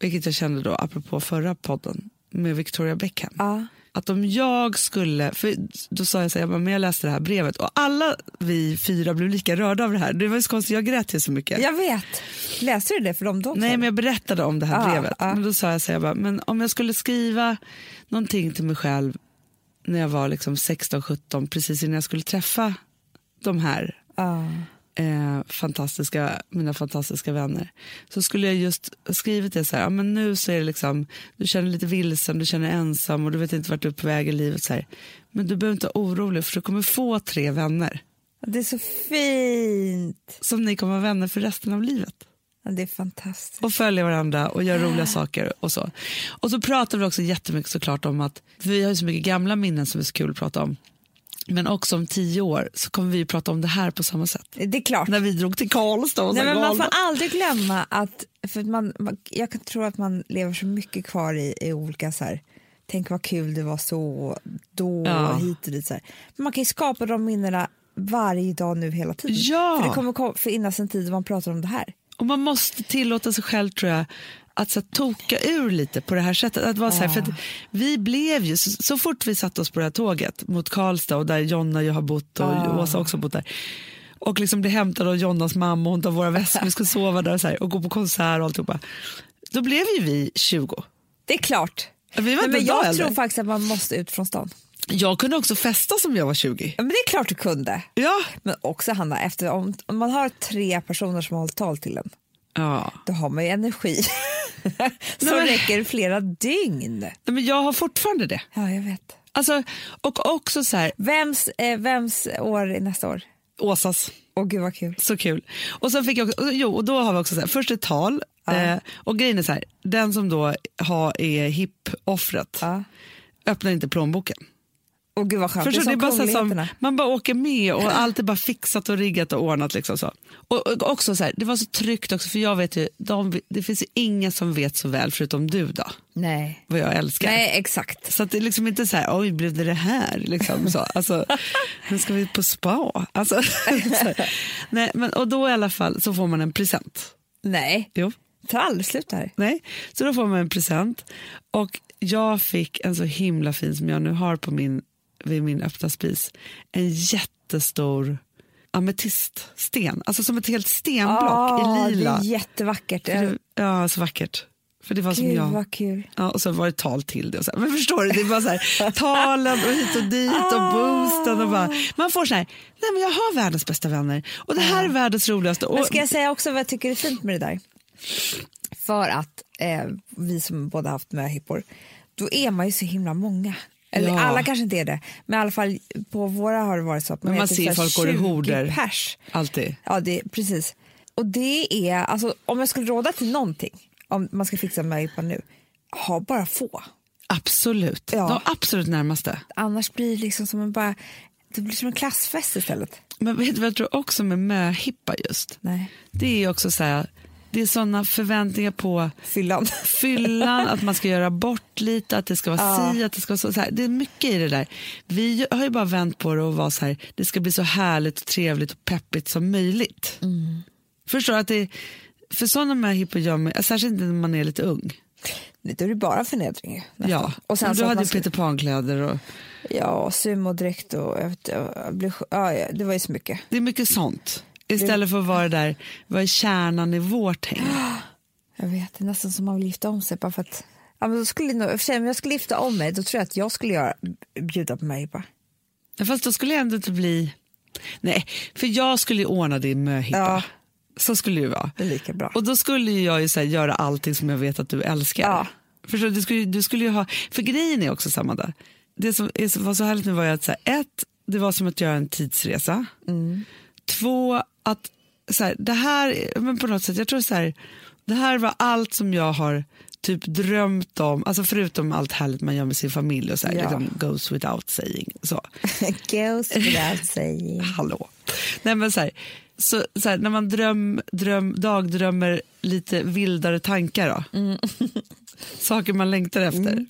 Speaker 1: vilket jag kände då apropå förra podden med Victoria Beckham.
Speaker 2: Ja.
Speaker 1: Att om jag skulle, för då sa jag så här, jag, bara, men jag läste det här brevet och alla vi fyra blev lika rörda av det här. Det var ju så konstigt, jag grät ju så mycket.
Speaker 2: Jag vet. Läste du det för dem då? också?
Speaker 1: Nej, men jag berättade om det här
Speaker 2: Ah,
Speaker 1: brevet.
Speaker 2: ah.
Speaker 1: Men då sa jag så här, jag bara, men om jag skulle skriva någonting till mig själv när jag var liksom 16-17, precis innan jag skulle träffa de här
Speaker 2: Ja.
Speaker 1: eh, fantastiska, mina fantastiska vänner, så skulle jag just ha skrivit det så här, ja, men nu så är det liksom, du känner lite vilsen, du känner ensam och du vet inte vart du är på väg i livet. Så här. Men du behöver inte vara orolig för du kommer få tre vänner
Speaker 2: Det är så fint.
Speaker 1: som ni kommer vara vänner för resten av livet.
Speaker 2: Ja, det är fantastiskt.
Speaker 1: och följa varandra och göra
Speaker 2: Ah.
Speaker 1: roliga saker och så. Och så pratar vi också jättemycket såklart om att, för vi har ju så mycket gamla minnen som är så kul att prata om. Men också om tio år så kommer vi ju prata om det här på samma sätt.
Speaker 2: Det är klart.
Speaker 1: När vi drog till Karlstad och så
Speaker 2: Nej, men man
Speaker 1: galna.
Speaker 2: får aldrig glömma att, för att man, man, jag kan tro att man lever så mycket kvar i, i olika så här, tänk vad kul det var så, då,
Speaker 1: Ja.
Speaker 2: hit och dit. Så här. Men man kan ju skapa de minnena varje dag nu hela tiden.
Speaker 1: Ja.
Speaker 2: För det kommer kom- finnas en tid då man pratar om det här.
Speaker 1: Och man måste tillåta sig själv tror jag att så här, toka ur lite på det här sättet. Att vara så här, för att vi blev ju, så, så fort vi satte oss på det här tåget mot Karlstad och där Jonna och jag har bott och Åsa också bott där och liksom blev hämtade av Jonnas mamma och hon tar våra väskor, vi skulle sova där och, så här, och gå på konsert och alltihopa. Då blev ju vi 20.
Speaker 2: Det är klart.
Speaker 1: Ja, vi var
Speaker 2: Nej,
Speaker 1: inte
Speaker 2: men
Speaker 1: en dag
Speaker 2: jag
Speaker 1: äldre.
Speaker 2: tror faktiskt att man måste ut från stan.
Speaker 1: Jag kunde också festa som jag var 20.
Speaker 2: Ja, men det är klart du kunde.
Speaker 1: Ja.
Speaker 2: Men också Hanna, efter, om, om man har tre personer som håller tal till en,
Speaker 1: ja.
Speaker 2: då har man ju energi som
Speaker 1: men-
Speaker 2: räcker flera dygn.
Speaker 1: Nej, Men jag har fortfarande det.
Speaker 2: Ja, jag vet.
Speaker 1: Alltså, och också så här,
Speaker 2: Vems, eh, vems år är nästa år?
Speaker 1: Åsas
Speaker 2: Åh gud vad kul.
Speaker 1: Så kul. Och sen fick jag också, och- jo, och då har vi också så här, först ett tal eh, och grejen är så här, den som då har, är hip-offret
Speaker 2: Ja.
Speaker 1: öppnar inte plånboken.
Speaker 2: Åh gud vad skönt.
Speaker 1: Förstår,
Speaker 2: det
Speaker 1: du?
Speaker 2: är som
Speaker 1: det är bara så här som,
Speaker 2: kungligheterna.
Speaker 1: man bara åker med och allt är bara fixat och riggat och ordnat. Liksom så. Och, och också så här, det var så tryggt också för jag vet ju, de, det finns ju ingen som vet så väl förutom du då,
Speaker 2: Nej.
Speaker 1: vad jag älskar.
Speaker 2: Nej exakt.
Speaker 1: Så att det är liksom inte så här, oj, blev det det här? Liksom, så. Alltså, nu ska vi ut på spa. Alltså, så här. Nej, men, och då i alla fall så får man en present.
Speaker 2: Nej.
Speaker 1: Jo.
Speaker 2: Ta aldrig slut där.
Speaker 1: Nej. Så då får man en present. Och jag fick en så himla fin som jag nu har på min, vid min öppna spis. En jättestor ametiststen. Alltså som ett helt stenblock
Speaker 2: Ah,
Speaker 1: i lila.
Speaker 2: Det är jättevackert.
Speaker 1: För det- Ja, så vackert. För det var som
Speaker 2: Gud
Speaker 1: jag.
Speaker 2: vad kul.
Speaker 1: Ja, och så var det tal till det. Och så här. Men förstår du, det är bara så här, talen och hit och dit
Speaker 2: Ah.
Speaker 1: och boosten. Och bara, man får så här, nej men jag har världens bästa vänner och det här är världens roligaste. Och,
Speaker 2: Ah. Men ska jag säga också vad jag tycker är fint med det där? För att eh, vi som båda haft möhippor, då är man ju så himla många. Eller
Speaker 1: Ja.
Speaker 2: alla kanske inte är det, men i alla fall på våra har det varit så att man,
Speaker 1: Men
Speaker 2: är
Speaker 1: man
Speaker 2: typ
Speaker 1: ser
Speaker 2: så här
Speaker 1: folk går i
Speaker 2: 20
Speaker 1: horder.
Speaker 2: pers.
Speaker 1: Alltid.
Speaker 2: Ja, det, precis. Och det är, alltså, om jag skulle råda till någonting, om man ska fixa möhippa nu, ha bara få.
Speaker 1: Absolut,
Speaker 2: Ja.
Speaker 1: de absolut närmaste.
Speaker 2: Annars blir det liksom som en bara, det blir som en klassfest istället.
Speaker 1: Men vet du vad jag tror också med möhippa just?
Speaker 2: Nej.
Speaker 1: Det är också så här, det är sådana förväntningar på
Speaker 2: Fyllan.
Speaker 1: fyllan, att man ska göra bort lite, att det ska vara si, att det ska vara så, så här. Det är mycket i det där. Vi har ju bara vänt på det och var så här, det ska bli så härligt och trevligt och peppigt som möjligt.
Speaker 2: Mm.
Speaker 1: Förstår du att det för sådana med hippor gör mig, särskilt när man är lite ung.
Speaker 2: Då är det bara förnedring ju, nästan.
Speaker 1: Ja,
Speaker 2: Och sen
Speaker 1: Men
Speaker 2: så
Speaker 1: du
Speaker 2: att
Speaker 1: hade
Speaker 2: man
Speaker 1: ju
Speaker 2: ska-
Speaker 1: Peter Pan-kläder och
Speaker 2: Ja, och sumodräkt och jag vet- jag blev sj- ja, ja, det var ju så mycket.
Speaker 1: det är mycket sånt. Istället för att vara där, vad är kärnan i vårt häng?
Speaker 2: Jag vet, det är nästan som man vill gifta om sig bara för att Ja, men då skulle nog, för sig, om jag skulle gifta om mig då tror jag att jag skulle göra, bjuda på möhippa.
Speaker 1: Ja, Fast då skulle jag ändå inte bli... Nej, för jag skulle ju ordna din möhippa.
Speaker 2: Ja.
Speaker 1: Så skulle det ju vara.
Speaker 2: Det är lika bra.
Speaker 1: Och då skulle ju jag ju så här göra allting som jag vet att du älskar.
Speaker 2: Ja.
Speaker 1: Förstår du? Du skulle, ju- du skulle ju ha... För grejen är också samma där. Det som är, så- var så härligt nu var ju att så här, ett, det var som att göra en tidsresa.
Speaker 2: Mm.
Speaker 1: Två, att så här, det här, är- men på något sätt, jag tror så här, det här var allt som jag har typ drömt om, alltså förutom allt härligt man gör med sin familj och så här,
Speaker 2: Ja.
Speaker 1: liksom goes without saying. Så.
Speaker 2: Goes without saying.
Speaker 1: Hallå. Nej, men så här, så, så här, när man dröm, dröm, dagdrömmer lite vildare tankar, då,
Speaker 2: Mm.
Speaker 1: saker man längtar efter,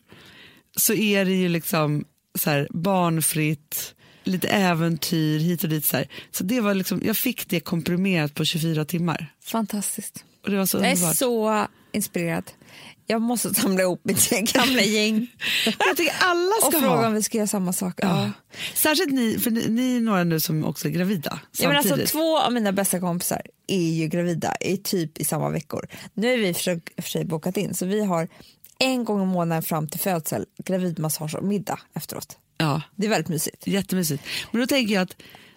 Speaker 1: så är det ju liksom så här, barnfritt, lite äventyr hit och dit. Så här. Så det var liksom, jag fick det komprimerat på 24 timmar.
Speaker 2: Fantastiskt.
Speaker 1: Och det var så
Speaker 2: Jag är
Speaker 1: underbart.
Speaker 2: så inspirerad. Jag måste samla ihop mitt gamla gäng
Speaker 1: Jag tycker alla
Speaker 2: och
Speaker 1: ska
Speaker 2: fråga
Speaker 1: ha.
Speaker 2: om vi ska göra samma sak.
Speaker 1: Ja.
Speaker 2: Ja.
Speaker 1: Särskilt ni, för ni, ni är några nu som också är gravida
Speaker 2: Ja, men
Speaker 1: samtidigt.
Speaker 2: alltså, två av mina bästa kompisar är ju gravida i typ i samma veckor. Nu är vi i och för sig- för sig bokat in så vi har en gång i månaden fram till födsel gravidmassage och middag efteråt.
Speaker 1: ja.
Speaker 2: Det är väldigt mysigt.
Speaker 1: Jättemysigt. Men då tänker jag att,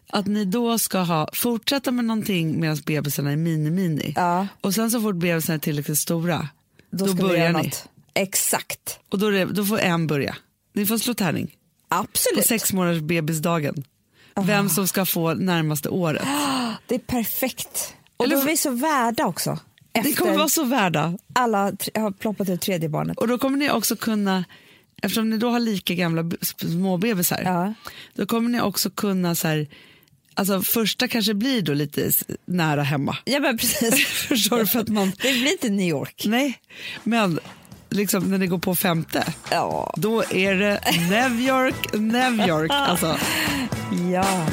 Speaker 1: att ni då ska ha, fortsätta med någonting medan bebisarna är mini-mini.
Speaker 2: Ja.
Speaker 1: Och sen så fort bebisarna är tillräckligt stora, då,
Speaker 2: ska vi
Speaker 1: börjar
Speaker 2: göra
Speaker 1: ni.
Speaker 2: något. Exakt.
Speaker 1: Och då, är det, då får en börja. Ni får slå tärning på
Speaker 2: Absolut.
Speaker 1: sex månaders bebisdagen.
Speaker 2: Ah.
Speaker 1: Vem som ska få närmaste året.
Speaker 2: Det är perfekt. Och
Speaker 1: Eller-
Speaker 2: då är vi så värda också. Efter
Speaker 1: Ni kommer vara så värda.
Speaker 2: alla tre, har ploppat ut tredje barnet.
Speaker 1: Och då kommer ni också kunna, eftersom ni då har lika gamla b- små bebisar,
Speaker 2: Ja.
Speaker 1: då kommer ni också kunna så här, alltså första kanske blir då lite s- nära hemma.
Speaker 2: Ja men precis.
Speaker 1: Förstår du? För att man
Speaker 2: Det blir inte New York.
Speaker 1: Nej, men liksom när det går på femte,
Speaker 2: Ja.
Speaker 1: då är det New York, New York. Alltså,
Speaker 2: ja.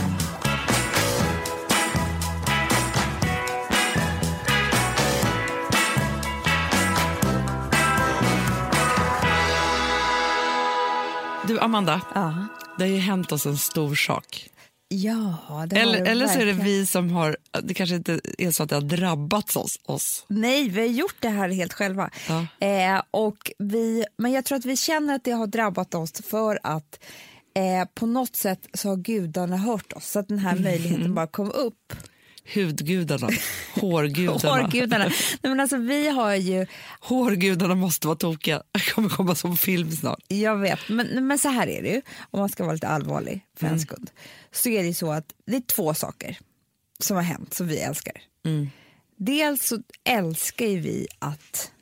Speaker 1: du Amanda,
Speaker 2: Ja.
Speaker 1: det har ju hänt oss en stor sak.
Speaker 2: Ja, det har
Speaker 1: Eller,
Speaker 2: det
Speaker 1: eller så är det
Speaker 2: verkligen.
Speaker 1: vi som har, det kanske inte är så att det har drabbats oss. oss.
Speaker 2: Nej, vi har gjort det här helt själva.
Speaker 1: Ja.
Speaker 2: Eh, och vi, men jag tror att vi känner att det har drabbat oss för att eh, på något sätt så har gudarna hört oss så att den här möjligheten bara kom upp.
Speaker 1: Hudgudarna, hårgudarna.
Speaker 2: Hårgudarna. Nej, men alltså, vi har ju,
Speaker 1: Hårgudarna måste vara tokiga. Det kommer komma som film snart.
Speaker 2: jag vet, men, men så här är det ju, om man ska vara lite allvarlig för en sekund, så är det ju så att det är två saker som har hänt som vi älskar. Dels så älskar ju vi att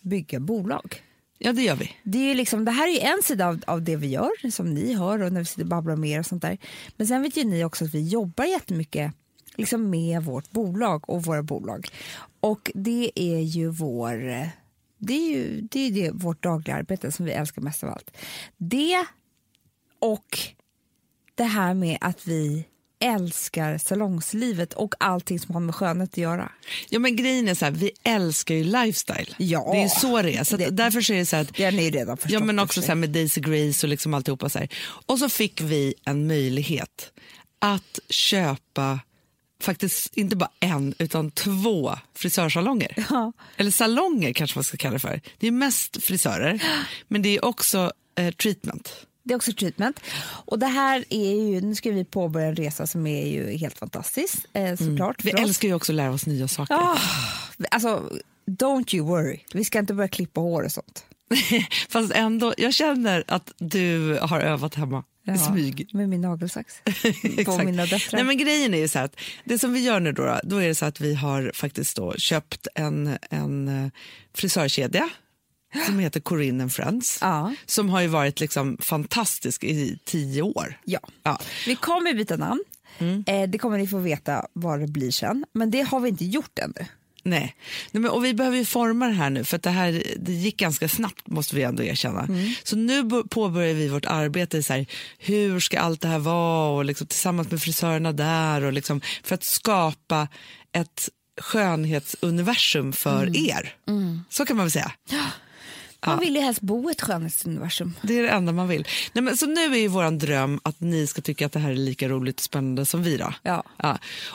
Speaker 2: bygga bolag.
Speaker 1: Ja, det gör vi.
Speaker 2: Det, är ju liksom, det här är ju en sida av, av det vi gör, som ni hör och när vi sitter och babblar med er och sånt där. Men sen vet ju ni också att vi jobbar jättemycket liksom med vårt bolag och våra bolag. Och det är ju vår... Det är ju det är det, vårt dagliga arbete som vi älskar mest av allt. Det och det här med att vi älskar salongslivet och allting som har med skönhet att göra.
Speaker 1: Ja, men grejen är så här, vi älskar ju lifestyle.
Speaker 2: Ja.
Speaker 1: Det är ju så det är. Så att
Speaker 2: Det-
Speaker 1: därför så är det så här att
Speaker 2: Det har ni ju redan förstått. liksom.
Speaker 1: Ja, men
Speaker 2: i och
Speaker 1: också
Speaker 2: för
Speaker 1: så
Speaker 2: sig.
Speaker 1: här med Daisy Grace och liksom alltihopa. Så här. Och så fick vi en möjlighet att köpa, faktiskt inte bara en, utan två frisörsalonger. Eller salonger kanske man ska kalla det för. Det är mest frisörer, men det är också eh, treatment.
Speaker 2: Det är också treatment. Och det här är ju, nu ska vi påbörja en resa som är ju helt fantastisk eh, såklart.
Speaker 1: Mm. Vi
Speaker 2: för oss.
Speaker 1: älskar ju också att lära oss nya saker.
Speaker 2: Ah, alltså, don't you worry. Vi ska inte börja klippa hår och sånt.
Speaker 1: Fast ändå, jag känner att du har övat hemma i smyg.
Speaker 2: Med min nagelsax. på
Speaker 1: Exakt.
Speaker 2: mina döttrar.
Speaker 1: Nej, men grejen är ju så här att det som vi gör nu då, då är det så att vi har faktiskt då köpt en, en eh, frisörkedja som heter Corinne and Friends.
Speaker 2: Ja.
Speaker 1: Som har ju varit liksom fantastisk i tio år.
Speaker 2: Ja.
Speaker 1: Ja.
Speaker 2: Vi kommer byta namn.
Speaker 1: Mm.
Speaker 2: Eh, det kommer ni få veta vad det blir sen. Men det har vi inte gjort ännu.
Speaker 1: Nej. Nej, men, och vi behöver ju forma det här nu, för att det här det gick ganska snabbt måste vi ändå erkänna. Så nu bo- påbörjar vi vårt arbete, i så här, hur ska allt det här vara och liksom, tillsammans med frisörerna där och liksom, för att skapa ett skönhetsuniversum för er. Så kan man väl säga.
Speaker 2: Man vill ju helst bo i ett skönhetsuniversum.
Speaker 1: Det är det enda man vill. Nej, men, så nu är ju vår dröm att ni ska tycka att det här är lika roligt och spännande som vi. Då.
Speaker 2: Ja.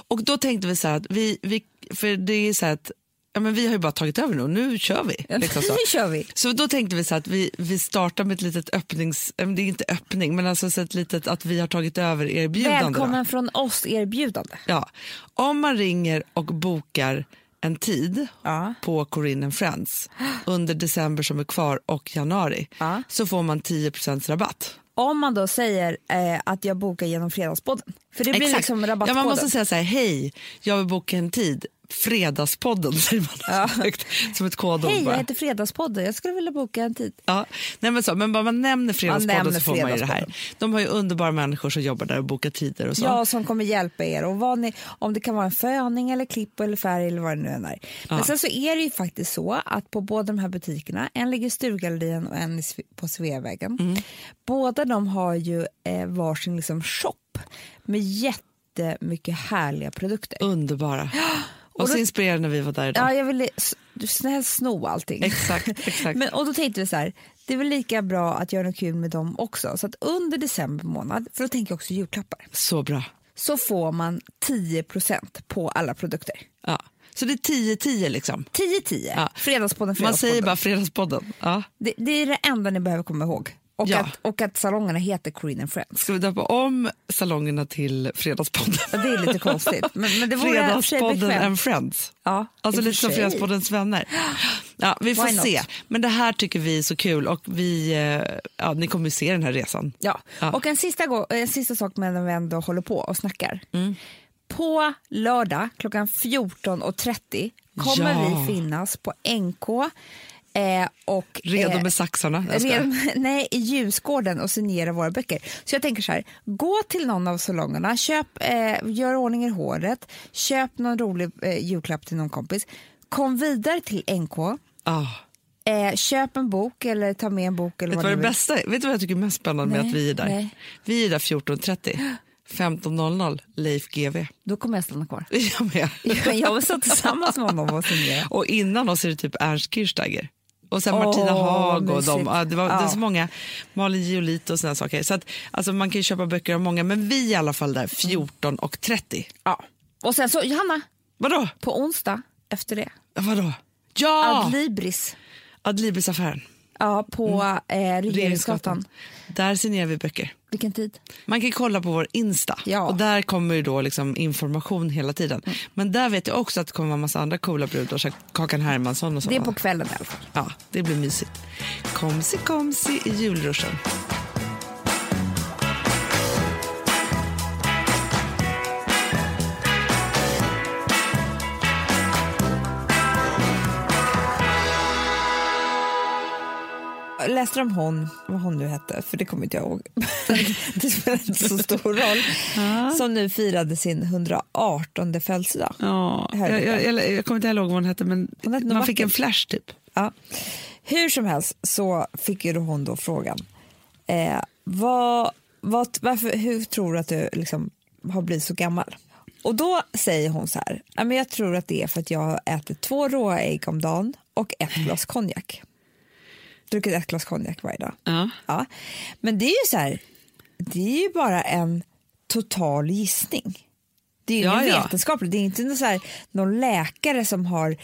Speaker 1: Och då tänkte vi så här att vi, vi för det är så här att ja, men vi har ju bara tagit över nu, nu kör vi. Liksom så.
Speaker 2: nu kör vi.
Speaker 1: Så då tänkte vi så här att vi, vi startar med ett litet öppnings, eh, det är inte öppning, men alltså så ett litet att vi har tagit över erbjudande. då.
Speaker 2: Välkommen från oss erbjudande.
Speaker 1: Ja. Om man ringer och bokar en tid
Speaker 2: Ja.
Speaker 1: på Corinne and Friends under december som är kvar och januari
Speaker 2: Ja.
Speaker 1: så får man 10 rabatt.
Speaker 2: Om man då säger eh, att jag bokar genom Fredagspodden. För det blir
Speaker 1: Exakt.
Speaker 2: liksom
Speaker 1: ja,
Speaker 2: rabattkoden.
Speaker 1: man måste säga så här, hej, jag vill boka en tid. Fredagspodden säger man snyggt, som ett kodord.
Speaker 2: Hej, jag
Speaker 1: bara.
Speaker 2: heter Fredagspodden. Jag skulle vilja boka en tid.
Speaker 1: Ja, nej men, så, men bara man nämner Fredagspodden
Speaker 2: nämner
Speaker 1: så får man ju det här.
Speaker 2: Fredagspodden.
Speaker 1: De har ju underbara människor som jobbar där och bokar tider och så.
Speaker 2: Jag som kommer hjälpa er. Och vad ni, om det kan vara en föning eller klipp eller färg eller vad det nu än är. Men
Speaker 1: Ja.
Speaker 2: sen så är det ju faktiskt så att på båda de här butikerna, en ligger i Sturgallerian och en i Sve- på Sveavägen.
Speaker 1: Mm.
Speaker 2: Båda de har ju eh, varsin liksom shop med jättemycket härliga produkter.
Speaker 1: Underbara. Och,
Speaker 2: och
Speaker 1: så
Speaker 2: då-
Speaker 1: inspirerade när vi var där idag.
Speaker 2: Ja, jag ville s- du snäll sno allting.
Speaker 1: Exakt, exakt.
Speaker 2: Men, och då tänkte vi så här, det är väl lika bra att göra något kul med dem också. Så att under december månad, för då tänker jag också julklappar,
Speaker 1: Så bra.
Speaker 2: så får man 10% på alla produkter.
Speaker 1: Ja. Så det är 10-10 liksom.
Speaker 2: 10-10,
Speaker 1: Ja.
Speaker 2: fredagspodden, fredagspodden.
Speaker 1: Man säger bara Fredagspodden. Ja.
Speaker 2: det, det är det enda ni behöver komma ihåg. Och,
Speaker 1: Ja.
Speaker 2: att, och att salongerna heter Queen and Friends.
Speaker 1: Ska vi döpa om salongerna till Fredagspodden?
Speaker 2: Det är lite konstigt, men, men det vore i och för sig
Speaker 1: Fredagspodden
Speaker 2: bekvämt.
Speaker 1: and friends.
Speaker 2: Ja,
Speaker 1: Alltså
Speaker 2: i och för
Speaker 1: lite som
Speaker 2: sig.
Speaker 1: Fredagspoddens vänner. Ja, vi får
Speaker 2: Why not?
Speaker 1: se. Men det här tycker vi är så kul och vi, eh, ja, ni kommer ju se den här resan.
Speaker 2: Ja.
Speaker 1: Ja.
Speaker 2: Och en sista, gå- en sista sak medan vi ändå håller på och snackar.
Speaker 1: Mm.
Speaker 2: På lördag klockan 14.30 kommer
Speaker 1: Ja.
Speaker 2: vi finnas på NK eh, och
Speaker 1: Redo
Speaker 2: eh,
Speaker 1: med saxarna. Jag skojar.
Speaker 2: Redo, nej, i Ljusgården och signera våra böcker. Så jag tänker så här, gå till någon av salongerna, köp, eh, gör ordning i håret, köp någon rolig eh, julklapp till någon kompis, kom vidare till NK,
Speaker 1: Ja.
Speaker 2: eh, köp en bok eller ta med en bok eller
Speaker 1: Vet Ah, du
Speaker 2: vad
Speaker 1: vad
Speaker 2: ni
Speaker 1: det
Speaker 2: vill.
Speaker 1: bästa är? Vet du vad jag tycker är mest spännande med
Speaker 2: Nej,
Speaker 1: att vi är där?
Speaker 2: nej.
Speaker 1: Vi är där 14.30, 15.00, Leif GW.
Speaker 2: Då kommer jag stanna kvar.
Speaker 1: Jag med.
Speaker 2: Ja, Jag var så tillsammans med honom och signera.
Speaker 1: Och innan oss är det typ Ernst Kirchsteiger. Och sen Martina
Speaker 2: Åh,
Speaker 1: Haag och dem.
Speaker 2: mysigt.
Speaker 1: Ja, det, var, det är
Speaker 2: Ja.
Speaker 1: så många. Malin Giolito och såna här saker. Så att, alltså, man kan ju köpa böcker av många. Men vi är i alla fall där 14.30.
Speaker 2: Ja. Och sen så, Johanna,
Speaker 1: Vadå?
Speaker 2: på onsdag efter det,
Speaker 1: Vadå? Ja!
Speaker 2: Adlibris
Speaker 1: Adlibris-affären.
Speaker 2: ja, på eh, Regeringsgatan.
Speaker 1: Där signerar vi böcker.
Speaker 2: Vilken tid?
Speaker 1: Man kan kolla på vår Insta
Speaker 2: Ja. Mm.
Speaker 1: och där kommer ju då liksom information hela tiden. Men där vet jag också att det kommer vara massa andra coola brudar, så här Kakan Hermansson och
Speaker 2: Det är
Speaker 1: sådana.
Speaker 2: på kvällen i alla fall.
Speaker 1: Ja, det blir mysigt. Komsi komsi i julruschen.
Speaker 2: Jag läste om hon, vad hon nu hette, för det kommer inte jag ihåg. det spelar inte så stor roll. Som nu firade sin 118 födelsedag.
Speaker 1: Ja,
Speaker 2: Här är
Speaker 1: jag,
Speaker 2: det.
Speaker 1: jag, jag, jag kommer inte ihåg vad hon hette, men
Speaker 2: Hon hette något
Speaker 1: man fick en
Speaker 2: vackert.
Speaker 1: flash typ.
Speaker 2: Ja. Hur som helst så fick ju då hon då frågan. Eh, vad, vad, varför, hur tror du att du liksom har blivit så gammal? Och då säger hon så här. "Ja, men Jag tror att det är för att jag har ätit två råa ägg om dagen och ett glas konjak. Druckit ett glas konjak varje dag.
Speaker 1: Ja.
Speaker 2: Ja. Men det är ju så här. Det är ju bara en total gissning. Det är ju
Speaker 1: Ja,
Speaker 2: ingen
Speaker 1: ja.
Speaker 2: vetenskapligt. Det är inte någon, så här, någon läkare som har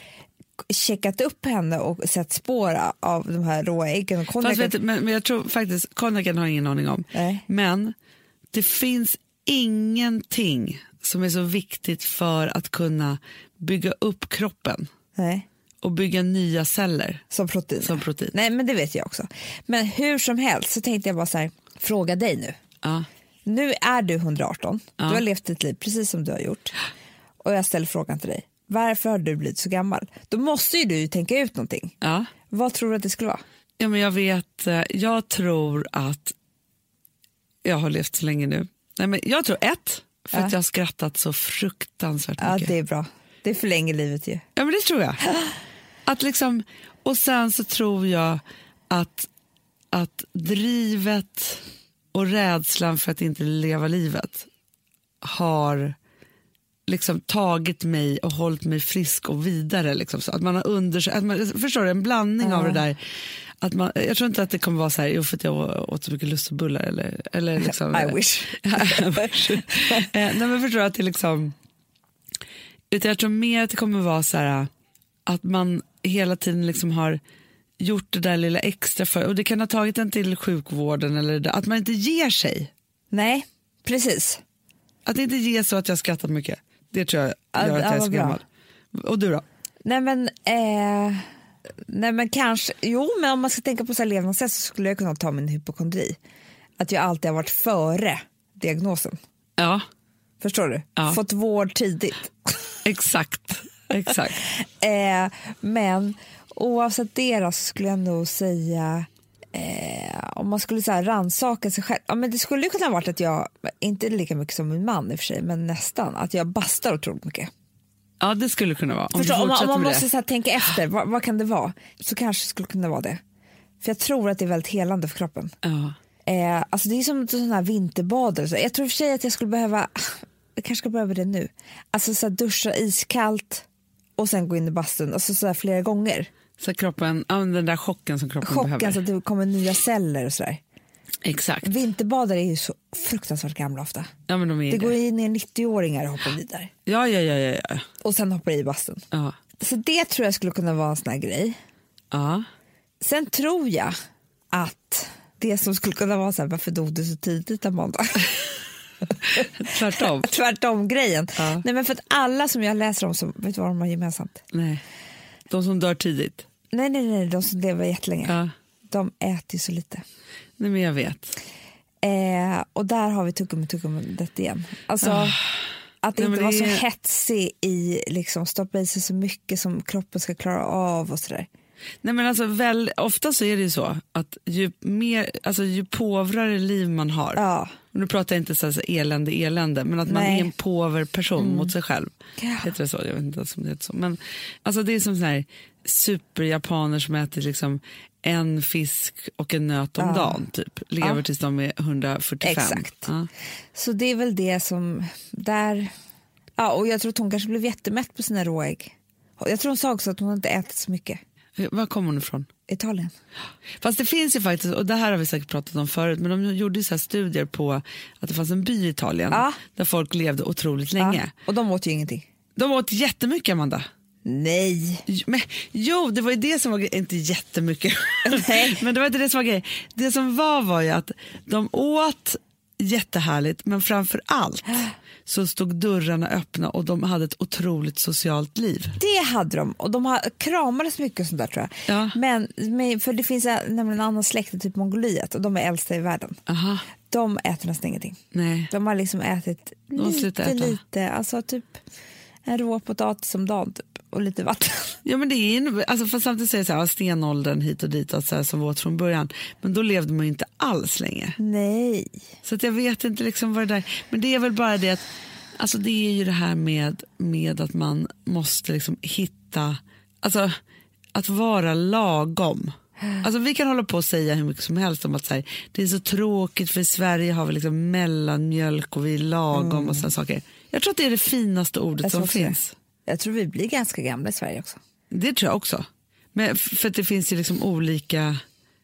Speaker 2: checkat upp henne och sett spår av de här råa äggen och
Speaker 1: Fast vet,
Speaker 2: konjaken.
Speaker 1: du, men, men jag tror faktiskt, konjaken har jag ingen aning om.
Speaker 2: Nej.
Speaker 1: Men det finns ingenting som är så viktigt för att kunna bygga upp kroppen
Speaker 2: Nej,
Speaker 1: och bygga nya celler
Speaker 2: som protein.
Speaker 1: som protein.
Speaker 2: Nej, men det vet jag också. Men hur som helst så tänkte jag bara så här, fråga dig nu.
Speaker 1: Ja.
Speaker 2: Nu är du 118.
Speaker 1: Ja.
Speaker 2: Du har levt ditt liv precis som du har gjort. Och jag ställer frågan till dig. Varför har du blivit så gammal? Då måste ju du ju tänka ut någonting.
Speaker 1: Ja.
Speaker 2: Vad tror du att det skulle vara?
Speaker 1: ja, men jag vet, eh, jag tror att jag har levt så länge nu. Nej, men jag tror ett, för
Speaker 2: Ja.
Speaker 1: att jag har skrattat så fruktansvärt
Speaker 2: Ja,
Speaker 1: mycket.
Speaker 2: det är bra. Det förlänger livet ju.
Speaker 1: Ja, men det tror jag. Att liksom, och sen så tror jag att, att drivet och rädslan för att inte leva livet har liksom tagit mig och hållit mig frisk och vidare. Liksom, så att man har unders- att man, förstår du, en blandning av det där. Att man, jag tror inte att det kommer vara så här, jo för att jag åt så mycket lussebullar eller, eller liksom.
Speaker 2: I wish.
Speaker 1: I wish. Eh, Nej men förstår du att det liksom, utan jag tror mer att det kommer vara så här att man hela tiden liksom har gjort det där lilla extra för, och det kan ha tagit en till sjukvården eller det där, att man inte ger sig.
Speaker 2: Nej, precis.
Speaker 1: Att inte ge så att jag skrattar mycket. Det tror jag
Speaker 2: Ja,
Speaker 1: gör att
Speaker 2: ja,
Speaker 1: jag är så
Speaker 2: vad bra.
Speaker 1: gammal. Och du då?
Speaker 2: Nej men, eh, nej men kanske, jo men om man ska tänka på så här levnadssätt så skulle jag kunna ta min hypokondri. att jag alltid har varit före diagnosen.
Speaker 1: Ja,
Speaker 2: Förstår du?
Speaker 1: Ja.
Speaker 2: Fått vård tidigt.
Speaker 1: exakt. exakt.
Speaker 2: Eh, men oavsett det då, så skulle jag nog säga eh, om man skulle så här rannsaka sig själv. Ja, men det skulle ju kunna varit att jag, inte lika mycket som min man i och för sig, men nästan, att jag bastar otroligt mycket.
Speaker 1: Ja, det skulle kunna vara. Om vi
Speaker 2: Förstår, om man, om
Speaker 1: fortsätter
Speaker 2: man
Speaker 1: med
Speaker 2: måste
Speaker 1: det.
Speaker 2: så här tänka efter, vad, vad kan det vara? Så kanske skulle kunna vara det. För jag tror att det är väldigt helande för kroppen.
Speaker 1: Ja.
Speaker 2: Eh, alltså det är som sådana här vinterbader. Så jag tror i och för sig att jag skulle behöva, jag kanske ska behöva det nu. Alltså så här duscha iskallt och sen gå in i bastun, alltså så här flera gånger.
Speaker 1: Så att kroppen, ja, men den där chocken som kroppen behöver.
Speaker 2: Chocken så att det kommer nya celler och sådär.
Speaker 1: Exakt.
Speaker 2: Vinterbadare är ju så fruktansvärt gamla ofta.
Speaker 1: Ja, men de är
Speaker 2: Det
Speaker 1: det
Speaker 2: går ju ner 90-åringar och hoppar i där.
Speaker 1: Ja, ja, ja, ja, ja.
Speaker 2: Och sen hoppar i bastun.
Speaker 1: ja.
Speaker 2: Så det tror jag skulle kunna vara en sån här grej.
Speaker 1: ja.
Speaker 2: Sen tror jag att det som skulle kunna vara så här, varför dog du så tidigt Amanda?
Speaker 1: Tvärtom.
Speaker 2: Tvärtom-grejen.
Speaker 1: Ja.
Speaker 2: Nej men för att alla som jag läser om, som, vet du vad de har gemensamt?
Speaker 1: Nej. De som dör tidigt.
Speaker 2: Nej, nej, nej, de som lever jättelänge.
Speaker 1: Ja.
Speaker 2: De äter ju så lite.
Speaker 1: Nej, men jag vet.
Speaker 2: Eh, och där har vi tuggummi, tuggummi, det igen. Alltså, att
Speaker 1: Ah. Nej, men
Speaker 2: inte vara
Speaker 1: det
Speaker 2: så
Speaker 1: är-
Speaker 2: hetsig i, liksom stoppa i sig så mycket som kroppen ska klara av och sådär.
Speaker 1: Nej, men alltså, väl, ofta så är det ju så att ju, mer, alltså, ju påvrare liv man har,
Speaker 2: Ja.
Speaker 1: nu pratar jag inte så här, så här elände, elände, men att man
Speaker 2: Nej.
Speaker 1: är en påver person mot sig själv.
Speaker 2: Ja.
Speaker 1: Heter det så? Jag vet inte ens om det heter så. Men, alltså, det är som så här, superjapaner som äter liksom en fisk och en nöt om dagen, typ. lever tills de är 145.
Speaker 2: Exakt.
Speaker 1: Ja.
Speaker 2: Så det är väl det som, där, ja och jag tror att hon kanske blev jättemätt på sina råägg. Jag tror hon sa också att hon inte ätit så mycket.
Speaker 1: Var kommer hon ifrån?
Speaker 2: Italien.
Speaker 1: Fast det finns ju faktiskt, och det här har vi säkert pratat om förut, men de gjorde ju så här studier på att det fanns en by i Italien
Speaker 2: Ja.
Speaker 1: där folk levde otroligt länge.
Speaker 2: Ja. Och de åt ju ingenting.
Speaker 1: De åt jättemycket Amanda.
Speaker 2: Nej.
Speaker 1: Jo, Men, jo, det var ju det som var grejen. Inte jättemycket,
Speaker 2: Nej.
Speaker 1: men det var inte det som var grejen. Det som var var ju att de åt jättehärligt, men framför allt så stod dörrarna öppna och de hade ett otroligt socialt liv.
Speaker 2: Det hade de och de har, kramades mycket och sånt där tror jag.
Speaker 1: Ja.
Speaker 2: Men, men, för det finns ä- nämligen en annan släkt i typ Mongoliet och de är äldsta i världen.
Speaker 1: Aha,
Speaker 2: De äter nästan ingenting.
Speaker 1: nej.
Speaker 2: De har liksom ätit
Speaker 1: har
Speaker 2: lite,
Speaker 1: slutat äta.
Speaker 2: lite, alltså typ en rå potatis om dagen typ, och lite vatten.
Speaker 1: Ja, men det är ju, alltså, fast samtidigt säger jag så här, ja, stenåldern hit och dit och så här, som vi åt från början, men då levde man ju inte alls länge.
Speaker 2: Nej.
Speaker 1: Så att jag vet inte liksom vad det där, men det är väl bara det att, alltså det är ju det här med, med att man måste liksom hitta, alltså att vara lagom. Alltså vi kan hålla på och säga hur mycket som helst om att så här, det är så tråkigt för i Sverige har vi liksom mellanmjölk och vi är lagom och sådana saker. Jag tror att det är det finaste ordet
Speaker 2: Mm. Jag tror
Speaker 1: som
Speaker 2: också det.
Speaker 1: finns.
Speaker 2: Jag tror vi blir ganska gamla i Sverige också.
Speaker 1: Det tror jag också. Men f- för att det finns ju liksom olika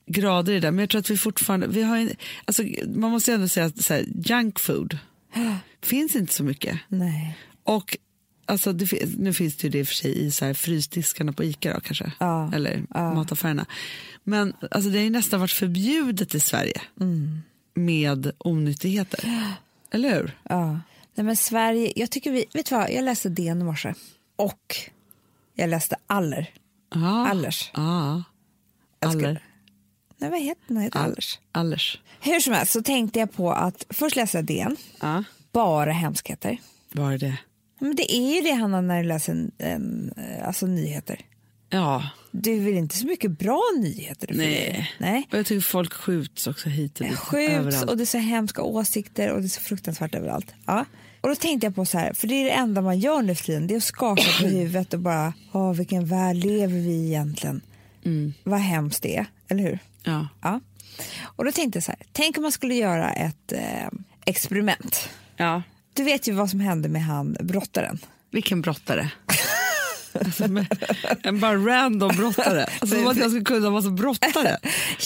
Speaker 1: grader i det. där. Men jag tror att vi fortfarande, vi har en, alltså, man måste ju ändå säga att så här, junk food finns inte så mycket.
Speaker 2: Nej.
Speaker 1: Och alltså, det, fin- nu finns det ju det i och för sig i så här, frysdiskarna på Ica då, kanske.
Speaker 2: Ja.
Speaker 1: Eller mataffärerna. Men alltså, det har ju nästan varit förbjudet i Sverige
Speaker 2: Mm.
Speaker 1: med onyttigheter. Eller hur?
Speaker 2: Ja. Nej men Sverige, jag tycker vi, vet du vad, jag läste DN i morse och jag läste Aller.
Speaker 1: Ja.
Speaker 2: Allers.
Speaker 1: Ja. Aller.
Speaker 2: Nej vad heter den? Den heter Allers.
Speaker 1: Allers.
Speaker 2: Hur som helst så tänkte jag på att först läste jag DN,
Speaker 1: Ja.
Speaker 2: bara hemskheter.
Speaker 1: Var är det?
Speaker 2: Men det är ju det Hanna när du läser en, en, eh, alltså nyheter.
Speaker 1: Ja.
Speaker 2: Du vill inte så mycket bra nyheter? du får
Speaker 1: Nej.
Speaker 2: ju. Nej.
Speaker 1: Och jag tycker folk skjuts också hit och dit.
Speaker 2: Skjuts
Speaker 1: överallt.
Speaker 2: och det är så hemska åsikter och det är så fruktansvärt överallt. Ja. Och då tänkte jag på så här, för det är det enda man gör nu för tiden, det är att skaka på huvudet och bara, åh vilken värld lever vi i egentligen?
Speaker 1: Mm.
Speaker 2: Vad hemskt det är, eller hur?
Speaker 1: Ja.
Speaker 2: Ja. Och då tänkte jag så här, tänk om man skulle göra ett eh, experiment.
Speaker 1: ja.
Speaker 2: Du vet ju vad som hände med han brottaren.
Speaker 1: Vilken brottare. alltså, men- en bara random brottare. Alltså, som att jag skulle kunna vara så brottare.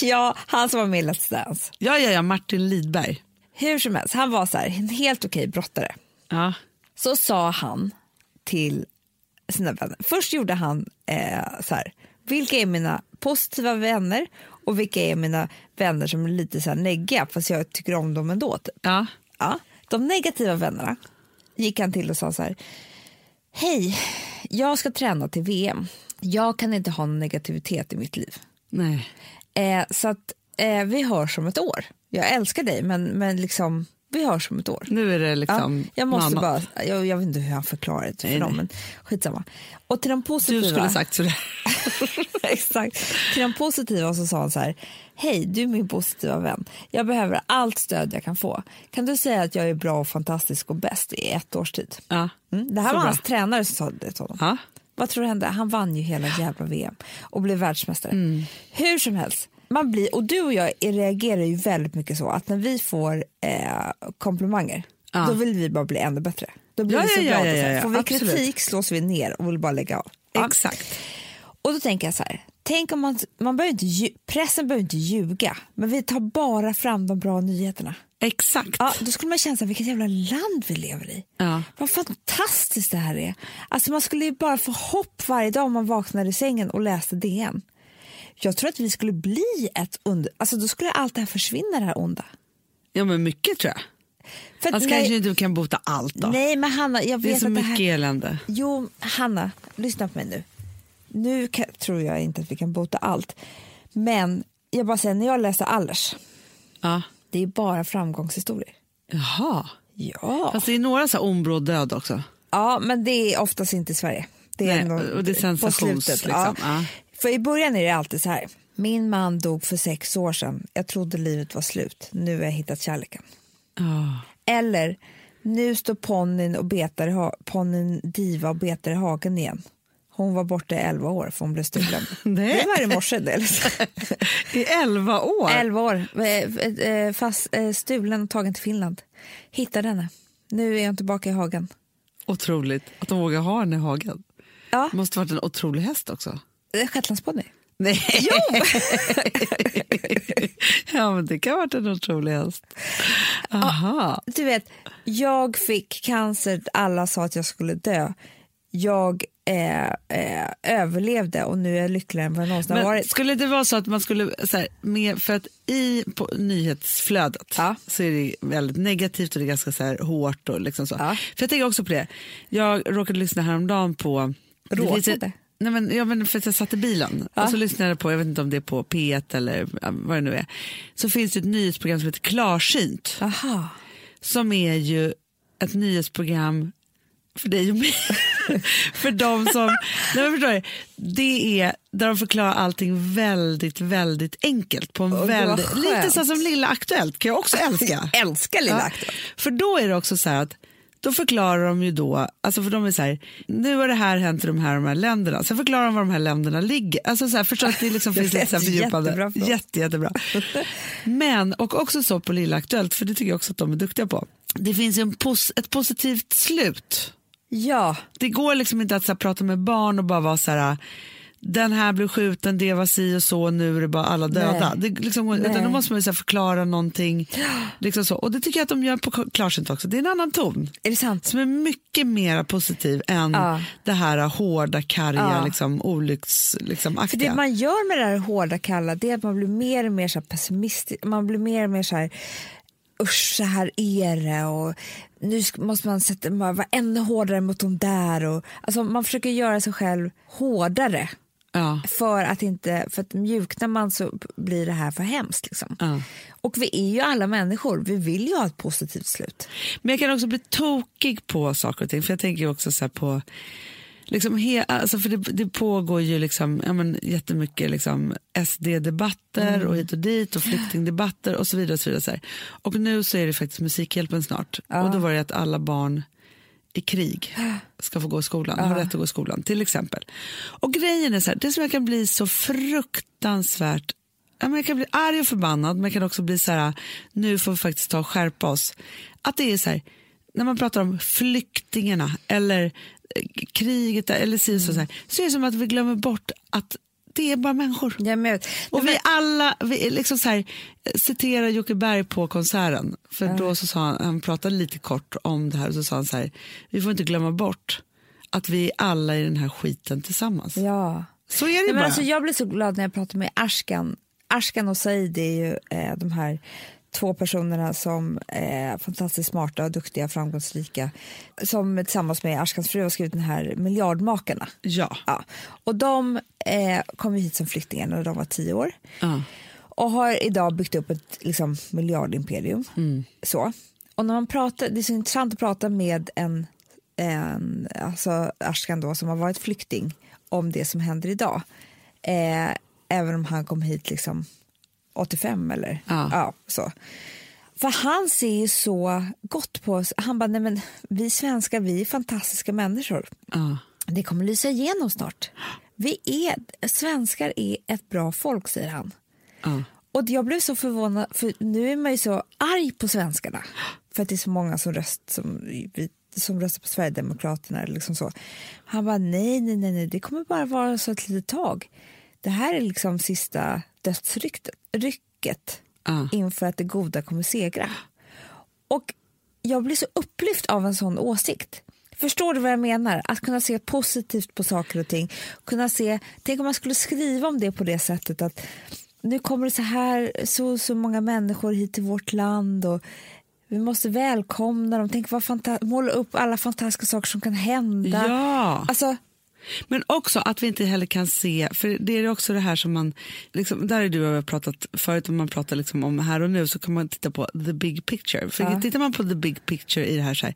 Speaker 2: Ja, han som var med i Let's Dance.
Speaker 1: Ja, ja, ja, Martin Lidberg.
Speaker 2: Hur som helst, han var så här, en helt okej brottare.
Speaker 1: Ja.
Speaker 2: Så sa han till sina vänner. Först gjorde han eh, så här, vilka är mina positiva vänner och vilka är mina vänner som är lite så här neggiga fast jag tycker om dem ändå. Typ.
Speaker 1: Ja.
Speaker 2: Ja. De negativa vännerna gick han till och sa så här. Hej, jag ska träna till VM. Jag kan inte ha någon negativitet i mitt liv.
Speaker 1: Nej.
Speaker 2: Eh, så att eh, vi hörs om ett år. Jag älskar dig, men, men liksom, vi hörs om ett år.
Speaker 1: Nu är det
Speaker 2: Ja,
Speaker 1: liksom
Speaker 2: jag, måste
Speaker 1: något annat.
Speaker 2: bara, jag, jag vet inte hur han förklarar det för
Speaker 1: Nej,
Speaker 2: dem,
Speaker 1: nej.
Speaker 2: men skitsamma. Och till den positiva,
Speaker 1: Du skulle sagt sådär.
Speaker 2: exakt, till den positiva så sa han så här, hej du är min positiva vän, jag behöver allt stöd jag kan få. Kan du säga att jag är bra och fantastisk och bäst i ett års tid?
Speaker 1: Ja.
Speaker 2: Mm, det här
Speaker 1: Så
Speaker 2: var
Speaker 1: bra.
Speaker 2: hans tränare som sa det till honom.
Speaker 1: Ja.
Speaker 2: Vad tror du hände? Han vann ju hela jävla VM och blev världsmästare.
Speaker 1: Mm.
Speaker 2: Hur som helst, man blir, och du och jag reagerar ju väldigt mycket så att när vi får eh, komplimanger,
Speaker 1: Ja.
Speaker 2: då vill vi bara bli ännu bättre. Då blir
Speaker 1: Ja,
Speaker 2: vi så
Speaker 1: ja, ja,
Speaker 2: glada.
Speaker 1: ja,
Speaker 2: och så här.
Speaker 1: ja,
Speaker 2: får vi
Speaker 1: absolut.
Speaker 2: kritik slås vi ner och vill bara lägga av. Ja.
Speaker 1: Exakt.
Speaker 2: Och då tänker jag så här, tänk om man, man behöver inte, lju- pressen behöver inte ljuga, men vi tar bara fram de bra nyheterna.
Speaker 1: Exakt.
Speaker 2: Ja, då skulle man känna så här, vilket jävla land vi lever i.
Speaker 1: Ja.
Speaker 2: Vad fantastiskt det här är. Alltså man skulle ju bara få hopp varje dag om man vaknade i sängen och läste DN. Jag tror att vi skulle bli ett under... Alltså då skulle allt det här försvinna, det här onda.
Speaker 1: ja, men mycket tror jag.
Speaker 2: För att,
Speaker 1: Fast kanske
Speaker 2: nej,
Speaker 1: inte du kan bota allt då.
Speaker 2: nej, men Hanna, jag
Speaker 1: det är
Speaker 2: vet
Speaker 1: så
Speaker 2: att det
Speaker 1: mycket
Speaker 2: här...
Speaker 1: elände.
Speaker 2: Jo, Hanna, lyssna på mig nu. Nu kan, tror jag inte att vi kan bota allt. Men jag bara säger, när jag läser Allers,
Speaker 1: Ja.
Speaker 2: det är bara framgångshistorier.
Speaker 1: Jaha.
Speaker 2: Ja.
Speaker 1: Fast det är några så här områd död också.
Speaker 2: Ja, men det är oftast inte i Sverige. Det är
Speaker 1: Nej,
Speaker 2: ändå
Speaker 1: och det är sensations- liksom, ja.
Speaker 2: För i början är det alltid så här. Min man dog för sex år sedan. Jag trodde livet var slut. Nu har jag hittat kärleken.
Speaker 1: Ja.
Speaker 2: Eller, nu står ponnyn och betar i ha- ponnyn Diva och betar i hagen igen. Hon var borta i elva år för hon blev stulen.
Speaker 1: Nej.
Speaker 2: Det var i morse. det, Liksom.
Speaker 1: I elva år?
Speaker 2: Elva år. Eh, eh, Fast, eh, stulen och tagen till Finland. Hittade henne. Nu är hon tillbaka i hagen.
Speaker 1: Otroligt att de vågar ha den i hagen.
Speaker 2: Ja.
Speaker 1: Det måste varit en otrolig häst också.
Speaker 2: Eh, Shetlandsponny.
Speaker 1: Nej. Jo! ja, men det kan ha varit en otrolig häst. Aha.
Speaker 2: Du vet, jag fick cancer, alla sa att jag skulle dö. Jag eh, eh, överlevde och nu är jag lyckligare än vad jag någonsin har
Speaker 1: Men
Speaker 2: varit.
Speaker 1: skulle det vara så att man skulle, så här, med, för att i på nyhetsflödet
Speaker 2: Ja.
Speaker 1: så är det väldigt negativt och det är ganska så här hårt och liksom så.
Speaker 2: Ja.
Speaker 1: För jag tänker också på det, jag råkade lyssna häromdagen på... det
Speaker 2: Råkade?
Speaker 1: finns ju- Nej men, ja, men för att jag satt i bilen och så lyssnade jag på, jag vet inte om det är på P1 eller ja, vad det nu är, så finns det ett nyhetsprogram som heter Klarsynt
Speaker 2: Aha.
Speaker 1: som är ju ett nyhetsprogram för dig och mig. för de som... Nej, men förstår du? Det är där de förklarar allting väldigt, väldigt enkelt. På en
Speaker 2: vad
Speaker 1: väldigt,
Speaker 2: skönt.
Speaker 1: lite så här som Lilla Aktuellt kan jag också älska.
Speaker 2: Älskar Lilla
Speaker 1: Ja.
Speaker 2: Aktuellt.
Speaker 1: För då är det också så här att då förklarar de ju då, alltså för de är så här, nu har det här hänt i de här, de här länderna, sen förklarar de var de här länderna ligger. Alltså så här, förstå att det liksom
Speaker 2: Det
Speaker 1: finns lite så här
Speaker 2: lät
Speaker 1: fördjupande.
Speaker 2: jättebra för oss.
Speaker 1: Jätte, jättebra. Men, och också så på Lilla Aktuellt, för det tycker jag också att de är duktiga på. Det finns ju en pos- ett positivt slut.
Speaker 2: Ja,
Speaker 1: Det går liksom inte att så här, prata med barn och bara vara så här, den här blev skjuten, det var si och så, nu är det bara alla döda. Det, liksom, utan
Speaker 2: Nej.
Speaker 1: då måste man ju så här, förklara någonting. Liksom så. Och det tycker jag att de gör på klarsynt också. Det är en annan ton
Speaker 2: är det sant?
Speaker 1: som är mycket mer positiv än
Speaker 2: Ja.
Speaker 1: det här hårda, karga,
Speaker 2: Ja.
Speaker 1: liksom, olycksaktiga. Liksom,
Speaker 2: För
Speaker 1: aktiga.
Speaker 2: det man gör med det här hårda kalla det är att man blir mer och mer så här pessimistisk. Man blir mer och mer så här usch så här är det och nu sk- måste man sätta, man vara ännu hårdare mot de där. Och, alltså man försöker göra sig själv hårdare.
Speaker 1: ja.
Speaker 2: för att inte för att mjuknar man så b- blir det här för hemskt. Liksom.
Speaker 1: Ja.
Speaker 2: Och vi är ju alla människor, vi vill ju ha ett positivt slut.
Speaker 1: Men jag kan också bli tokig på saker och ting. För jag tänker ju också så här på... Liksom he, alltså för det, det pågår ju liksom, ja men, jättemycket liksom SD-debatter och hit och dit och flyktingdebatter och så vidare. Och, så vidare så här. och nu så är det faktiskt Musikhjälpen snart. Och då var det att alla barn i krig ska få gå i skolan, har rätt att gå i skolan till exempel. Och grejen är så här, det som jag kan bli så fruktansvärt Ja, men jag kan bli arg och förbannad, men jag kan också bli så här, nu får vi faktiskt ta och skärpa oss. Att det är så här, när man pratar om flyktingarna eller eh, kriget eller si och så, så, här, så är det som att vi glömmer bort att det är bara människor.
Speaker 2: Ja, men,
Speaker 1: Och vi alla, vi är liksom så här, eh, citerar Jocke Berg på konserten, för
Speaker 2: Mm.
Speaker 1: då så sa han, han pratade lite kort om det här och så sa han så här, vi får inte glömma bort att vi är alla i den här skiten tillsammans.
Speaker 2: ja.
Speaker 1: Så är det ju
Speaker 2: Nej, men
Speaker 1: bara.
Speaker 2: alltså, jag blir så glad när jag pratar med Ashkan. Ashkan och Said är ju eh, de här två personerna som är fantastiskt smarta och duktiga, framgångsrika, som tillsammans med Ashkans fru har skrivit den här Miljardmakarna.
Speaker 1: Ja.
Speaker 2: Ja. Och de eh, kom ju hit som flyktingar när de var tio år.
Speaker 1: Ja.
Speaker 2: och har idag byggt upp ett liksom, miljardimperium. Så. Och när man pratar, det är så intressant att prata med en, en alltså Ashkan då, som har varit flykting om det som händer idag. Eh, även om han kom hit liksom 85 eller
Speaker 1: Ja.
Speaker 2: Ja, så. För han ser ju så gott på oss. Han bara, nej men vi svenskar, vi är fantastiska människor.
Speaker 1: Ja.
Speaker 2: Det kommer lysa igenom snart. Vi är, svenskar är ett bra folk, säger han.
Speaker 1: Ja.
Speaker 2: Och jag blev så förvånad, för nu är man ju så arg på svenskarna. För att det är så många som, röst, som, vi- som röstar på Sverigedemokraterna. eller Liksom så. Han bara, nej, nej, nej, nej, det kommer bara vara så ett litet tag. Det här är liksom sista dödsrycket rycket
Speaker 1: Ja.
Speaker 2: inför att det goda kommer segra. Och jag blir så upplyft av en sån åsikt. Förstår du vad jag menar? Att kunna se positivt på saker och ting. Kunna se, tänk om man skulle skriva om det på det sättet att nu kommer det så här så, så många människor hit till vårt land och vi måste välkomna dem. Tänk vad fanta- måla upp alla fantastiska saker som kan hända.
Speaker 1: Ja.
Speaker 2: Alltså,
Speaker 1: Men också att vi inte heller kan se, för det är också det här som man, liksom, där är du och jag pratat förut, om man pratar liksom om här och nu så kan man titta på the big picture. För
Speaker 2: Ja.
Speaker 1: tittar man på the big picture i det här så här,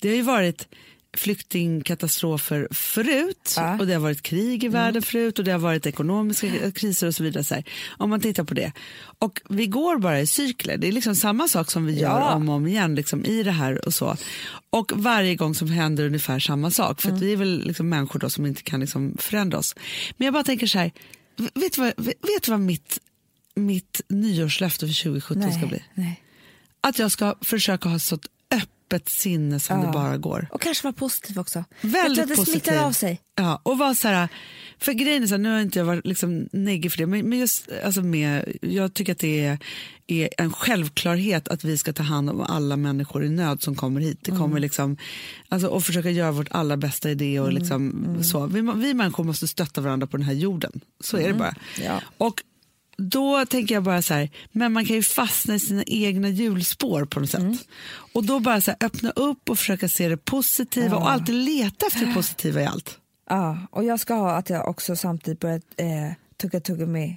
Speaker 1: det har ju varit flyktingkatastrofer förut
Speaker 2: Ja. Mm.
Speaker 1: och det har varit krig i världen förut och det har varit ekonomiska kriser och så vidare. Så här, om man tittar på det. Och vi går bara i cykler, det är liksom samma sak som vi gör
Speaker 2: Ja.
Speaker 1: om om och om igen liksom, i det här och så. Och varje gång som händer ungefär samma sak.
Speaker 2: Mm.
Speaker 1: För att vi är väl liksom människor då som inte kan liksom förändra oss. Men jag bara tänker så här, v- vet du vad, v- vet du vad mitt, mitt nyårslöfte för 2017 ska bli?
Speaker 2: nej.
Speaker 1: Att jag ska försöka ha så ett öppet sinne som det bara går.
Speaker 2: Och kanske vara positiv också. jag
Speaker 1: Väldigt
Speaker 2: tror att det
Speaker 1: positiv.
Speaker 2: smittar av sig.
Speaker 1: Ja, och var så här, för grejen är så här, nu har inte jag varit liksom neggig för det, men, men just, alltså med, jag tycker att det är, är en självklarhet att vi ska ta hand om alla människor i nöd som kommer hit. Det kommer liksom, alltså, och försöka göra vårt allra bästa i det. Och liksom, Så. Vi, vi människor måste stötta varandra på den här jorden, så är det bara.
Speaker 2: Ja.
Speaker 1: Och då tänker jag bara så här, men man kan ju fastna i sina egna hjulspår på något sätt. Och då bara så här, öppna upp och försöka se det positiva och alltid leta efter det positiva i allt.
Speaker 2: Ja, och jag ska ha att jag också samtidigt börjat eh, tugga tuggummi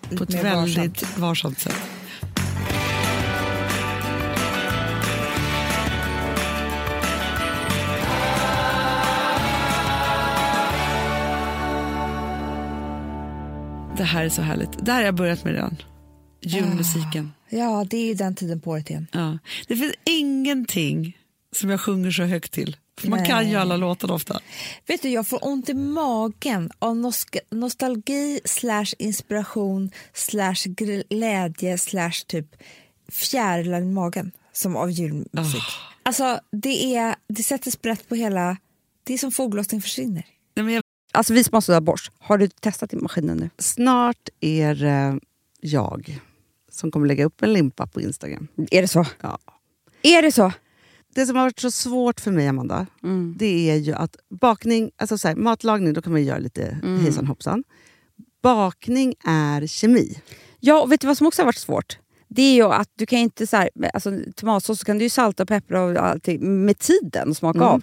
Speaker 1: På
Speaker 2: lite
Speaker 1: ett
Speaker 2: mer varsamt.
Speaker 1: väldigt varsamt sätt. Det här är så härligt. Det här har jag börjat med redan. Julmusiken.
Speaker 2: Ja, det är ju den tiden på året igen.
Speaker 5: Ah.
Speaker 1: Ja. Det finns ingenting som jag sjunger så högt till. För man kan ju alla låtar ofta.
Speaker 2: Vet du, jag får ont i magen av nosk- nostalgi slash inspiration slash glädje slash typ fjärilar i magen som av julmusik.
Speaker 1: Ah.
Speaker 2: Alltså, det, är, det sätter sprätt på hela... Det är som fågelåsning försvinner.
Speaker 1: Nej, men jag,
Speaker 4: Alltså vi som har sådär borst, har du testat i maskinen nu?
Speaker 5: Snart är det jag som kommer lägga upp en limpa på Instagram.
Speaker 4: Är det så?
Speaker 5: Ja.
Speaker 4: Är det så?
Speaker 5: Det som har varit så svårt för mig, Amanda,
Speaker 1: Mm.
Speaker 5: det är ju att bakning, alltså så här, matlagning, då kan man ju göra lite
Speaker 1: Mm.
Speaker 5: hejsan hoppsan. Bakning är kemi.
Speaker 4: Ja, och vet du vad som också har varit svårt? Det är ju att du kan inte så här, alltså, tomatsås så kan du ju salta och peppra och allting med tiden och smaka av.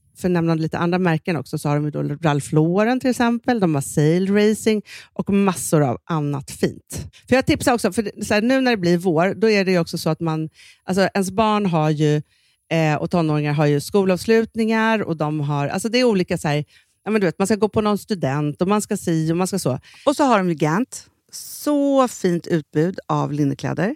Speaker 5: För att nämna lite andra märken också, så har de ju då Ralph Lauren till exempel, de har Sail Racing och massor av annat fint. För Jag tipsar också, för det- så här, nu när det blir vår, då är det ju också så att man, alltså ens barn har ju, eh, och tonåringar har ju skolavslutningar och de har, alltså det är olika så här, ja, men du vet, man ska gå på någon student och man ska si och man ska så. Och så har de ju Gant, så fint utbud av linnekläder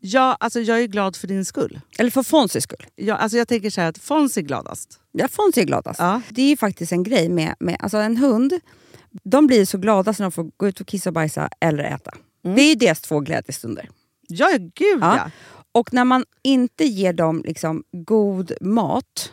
Speaker 5: Ja, alltså jag är glad för din skull.
Speaker 4: Eller för Fonzys skull.
Speaker 5: Jag, alltså jag tänker så här att Fons är gladast.
Speaker 4: Ja, Fonzie är gladast.
Speaker 5: Ja.
Speaker 4: Det är ju faktiskt en grej med, med alltså en hund. De blir så glada när de får gå ut och kissa och bajsa eller äta.
Speaker 5: Mm.
Speaker 4: Det är ju deras två glädjestunder.
Speaker 5: Ja, gud
Speaker 4: Ja.
Speaker 5: ja.
Speaker 4: Och när man inte ger dem liksom god mat,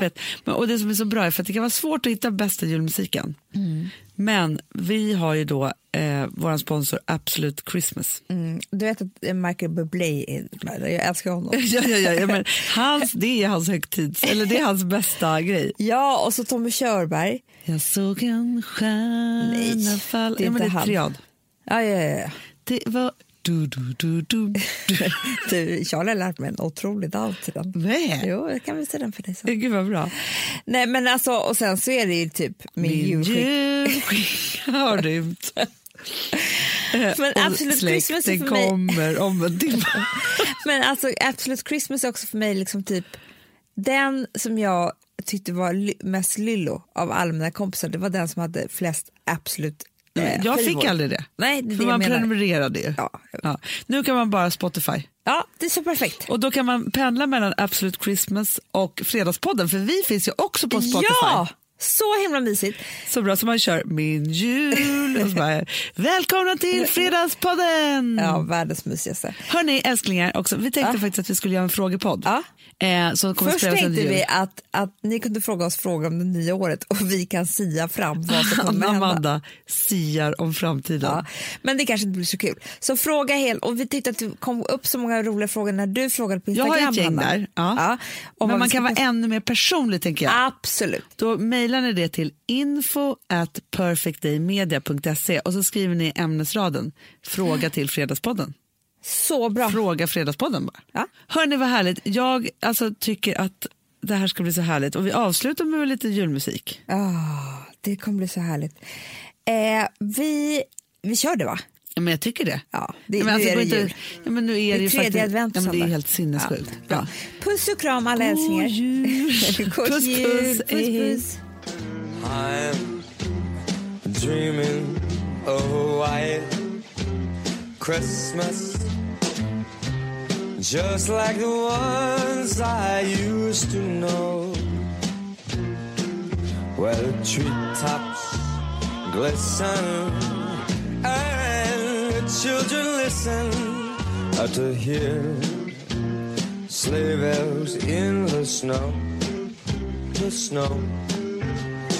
Speaker 1: Vet. Men, och det som är så bra är för att det kan vara svårt att hitta bästa julmusiken. Men vi har ju då eh, vår sponsor Absolute Christmas.
Speaker 2: Mm, du vet att eh, Michael Bublé, är, jag älskar honom.
Speaker 1: ja, ja, ja, ja, men hans, det är hans högtids, eller det är hans bästa grej.
Speaker 2: Ja, och så Tommy Körberg.
Speaker 1: Jag såg en stjärna
Speaker 2: Nej,
Speaker 1: fall.
Speaker 2: det är
Speaker 1: ja, men
Speaker 2: inte
Speaker 1: det är
Speaker 2: han.
Speaker 1: triad.
Speaker 2: Ja, ja, ja.
Speaker 1: Det var... Du, du, du, du, du.
Speaker 2: Du, Charlie har lärt mig en otrolig dans till den.
Speaker 1: Nej.
Speaker 2: Jo, jag kan visa den för dig sen.
Speaker 1: Gud vad bra.
Speaker 2: Nej, men alltså, och sen så är det ju typ min
Speaker 1: Min
Speaker 2: julskick.
Speaker 1: julskinka har rymt.
Speaker 2: Men
Speaker 1: Och
Speaker 2: Absolut Christmas är
Speaker 1: släkten
Speaker 2: för mig,
Speaker 1: kommer om en timme.
Speaker 2: men alltså, Absolut Christmas är också för mig liksom typ den som jag tyckte var ly- mest lyllo av alla mina kompisar. Det var den som hade flest Absolut eh,
Speaker 1: Jag fick
Speaker 2: skivor.
Speaker 1: aldrig det.
Speaker 2: Nej, det är det
Speaker 1: För
Speaker 2: jag
Speaker 1: man
Speaker 2: menar.
Speaker 1: prenumererade ju.
Speaker 2: Ja, jag vet.
Speaker 1: Ja. Nu kan man bara Spotify.
Speaker 2: Ja, det är så perfekt.
Speaker 1: Och då kan man pendla mellan Absolute Christmas och Fredagspodden för vi finns ju också på Spotify.
Speaker 2: Ja,
Speaker 4: Så himla mysigt.
Speaker 1: Så bra som man kör min jul och så bara, välkomna till Fredagspodden!
Speaker 4: Ja, världens mysigaste.
Speaker 1: Hörni älsklingar, också, vi tänkte faktiskt att vi skulle göra en frågepodd.
Speaker 4: Ja.
Speaker 1: Eh, som kommer
Speaker 4: Först
Speaker 1: spelas under
Speaker 4: tänkte
Speaker 1: jul.
Speaker 4: vi att, att ni kunde fråga oss frågor om det nya året och vi kan sia fram vad som kommer hända.
Speaker 1: alltså Amanda siar om framtiden.
Speaker 4: Ja, men det kanske inte blir så kul. Så fråga helt, och vi tyckte att det kom upp så många roliga frågor när du frågade på
Speaker 1: Jag
Speaker 4: Instagram.
Speaker 1: har ett gäng
Speaker 4: Hanna.
Speaker 1: där. Ja. Men
Speaker 4: om vad
Speaker 1: man
Speaker 4: vi ska
Speaker 1: kan vara
Speaker 4: posta.
Speaker 1: ännu mer personlig tänker jag.
Speaker 4: Absolut.
Speaker 1: Då mejlar ni det till info at perfectdaymedia.se och så skriver ni ämnesraden fråga till Fredagspodden.
Speaker 4: Så bra.
Speaker 1: Fråga Fredagspodden bara.
Speaker 4: Ja.
Speaker 1: Hörni vad härligt, jag alltså, tycker att det här ska bli så härligt och vi avslutar med lite julmusik.
Speaker 4: Ah, det kommer bli så härligt. Eh, vi, vi kör det va?
Speaker 1: Ja, Men jag tycker det.
Speaker 4: Ja, det-
Speaker 1: Ja,
Speaker 4: nu är
Speaker 1: alltså, går
Speaker 4: det
Speaker 1: inte-
Speaker 4: jul.
Speaker 1: Ja, men nu
Speaker 4: Det
Speaker 1: är
Speaker 4: är
Speaker 1: det ju
Speaker 4: tredje
Speaker 1: faktiskt,
Speaker 4: advent på
Speaker 1: ja, men Det är
Speaker 4: söndag.
Speaker 1: helt sinnessjukt.
Speaker 4: Ja,
Speaker 1: Ja.
Speaker 4: bra. Puss och kram alla älsklingar.
Speaker 1: God jul!
Speaker 4: God
Speaker 1: Puss,
Speaker 4: jul.
Speaker 1: puss, hej, hej.
Speaker 6: I'm dreaming of a white Christmas, just like the ones I used to know, where the treetops glisten and the children listen to hear sleigh bells in the snow, the snow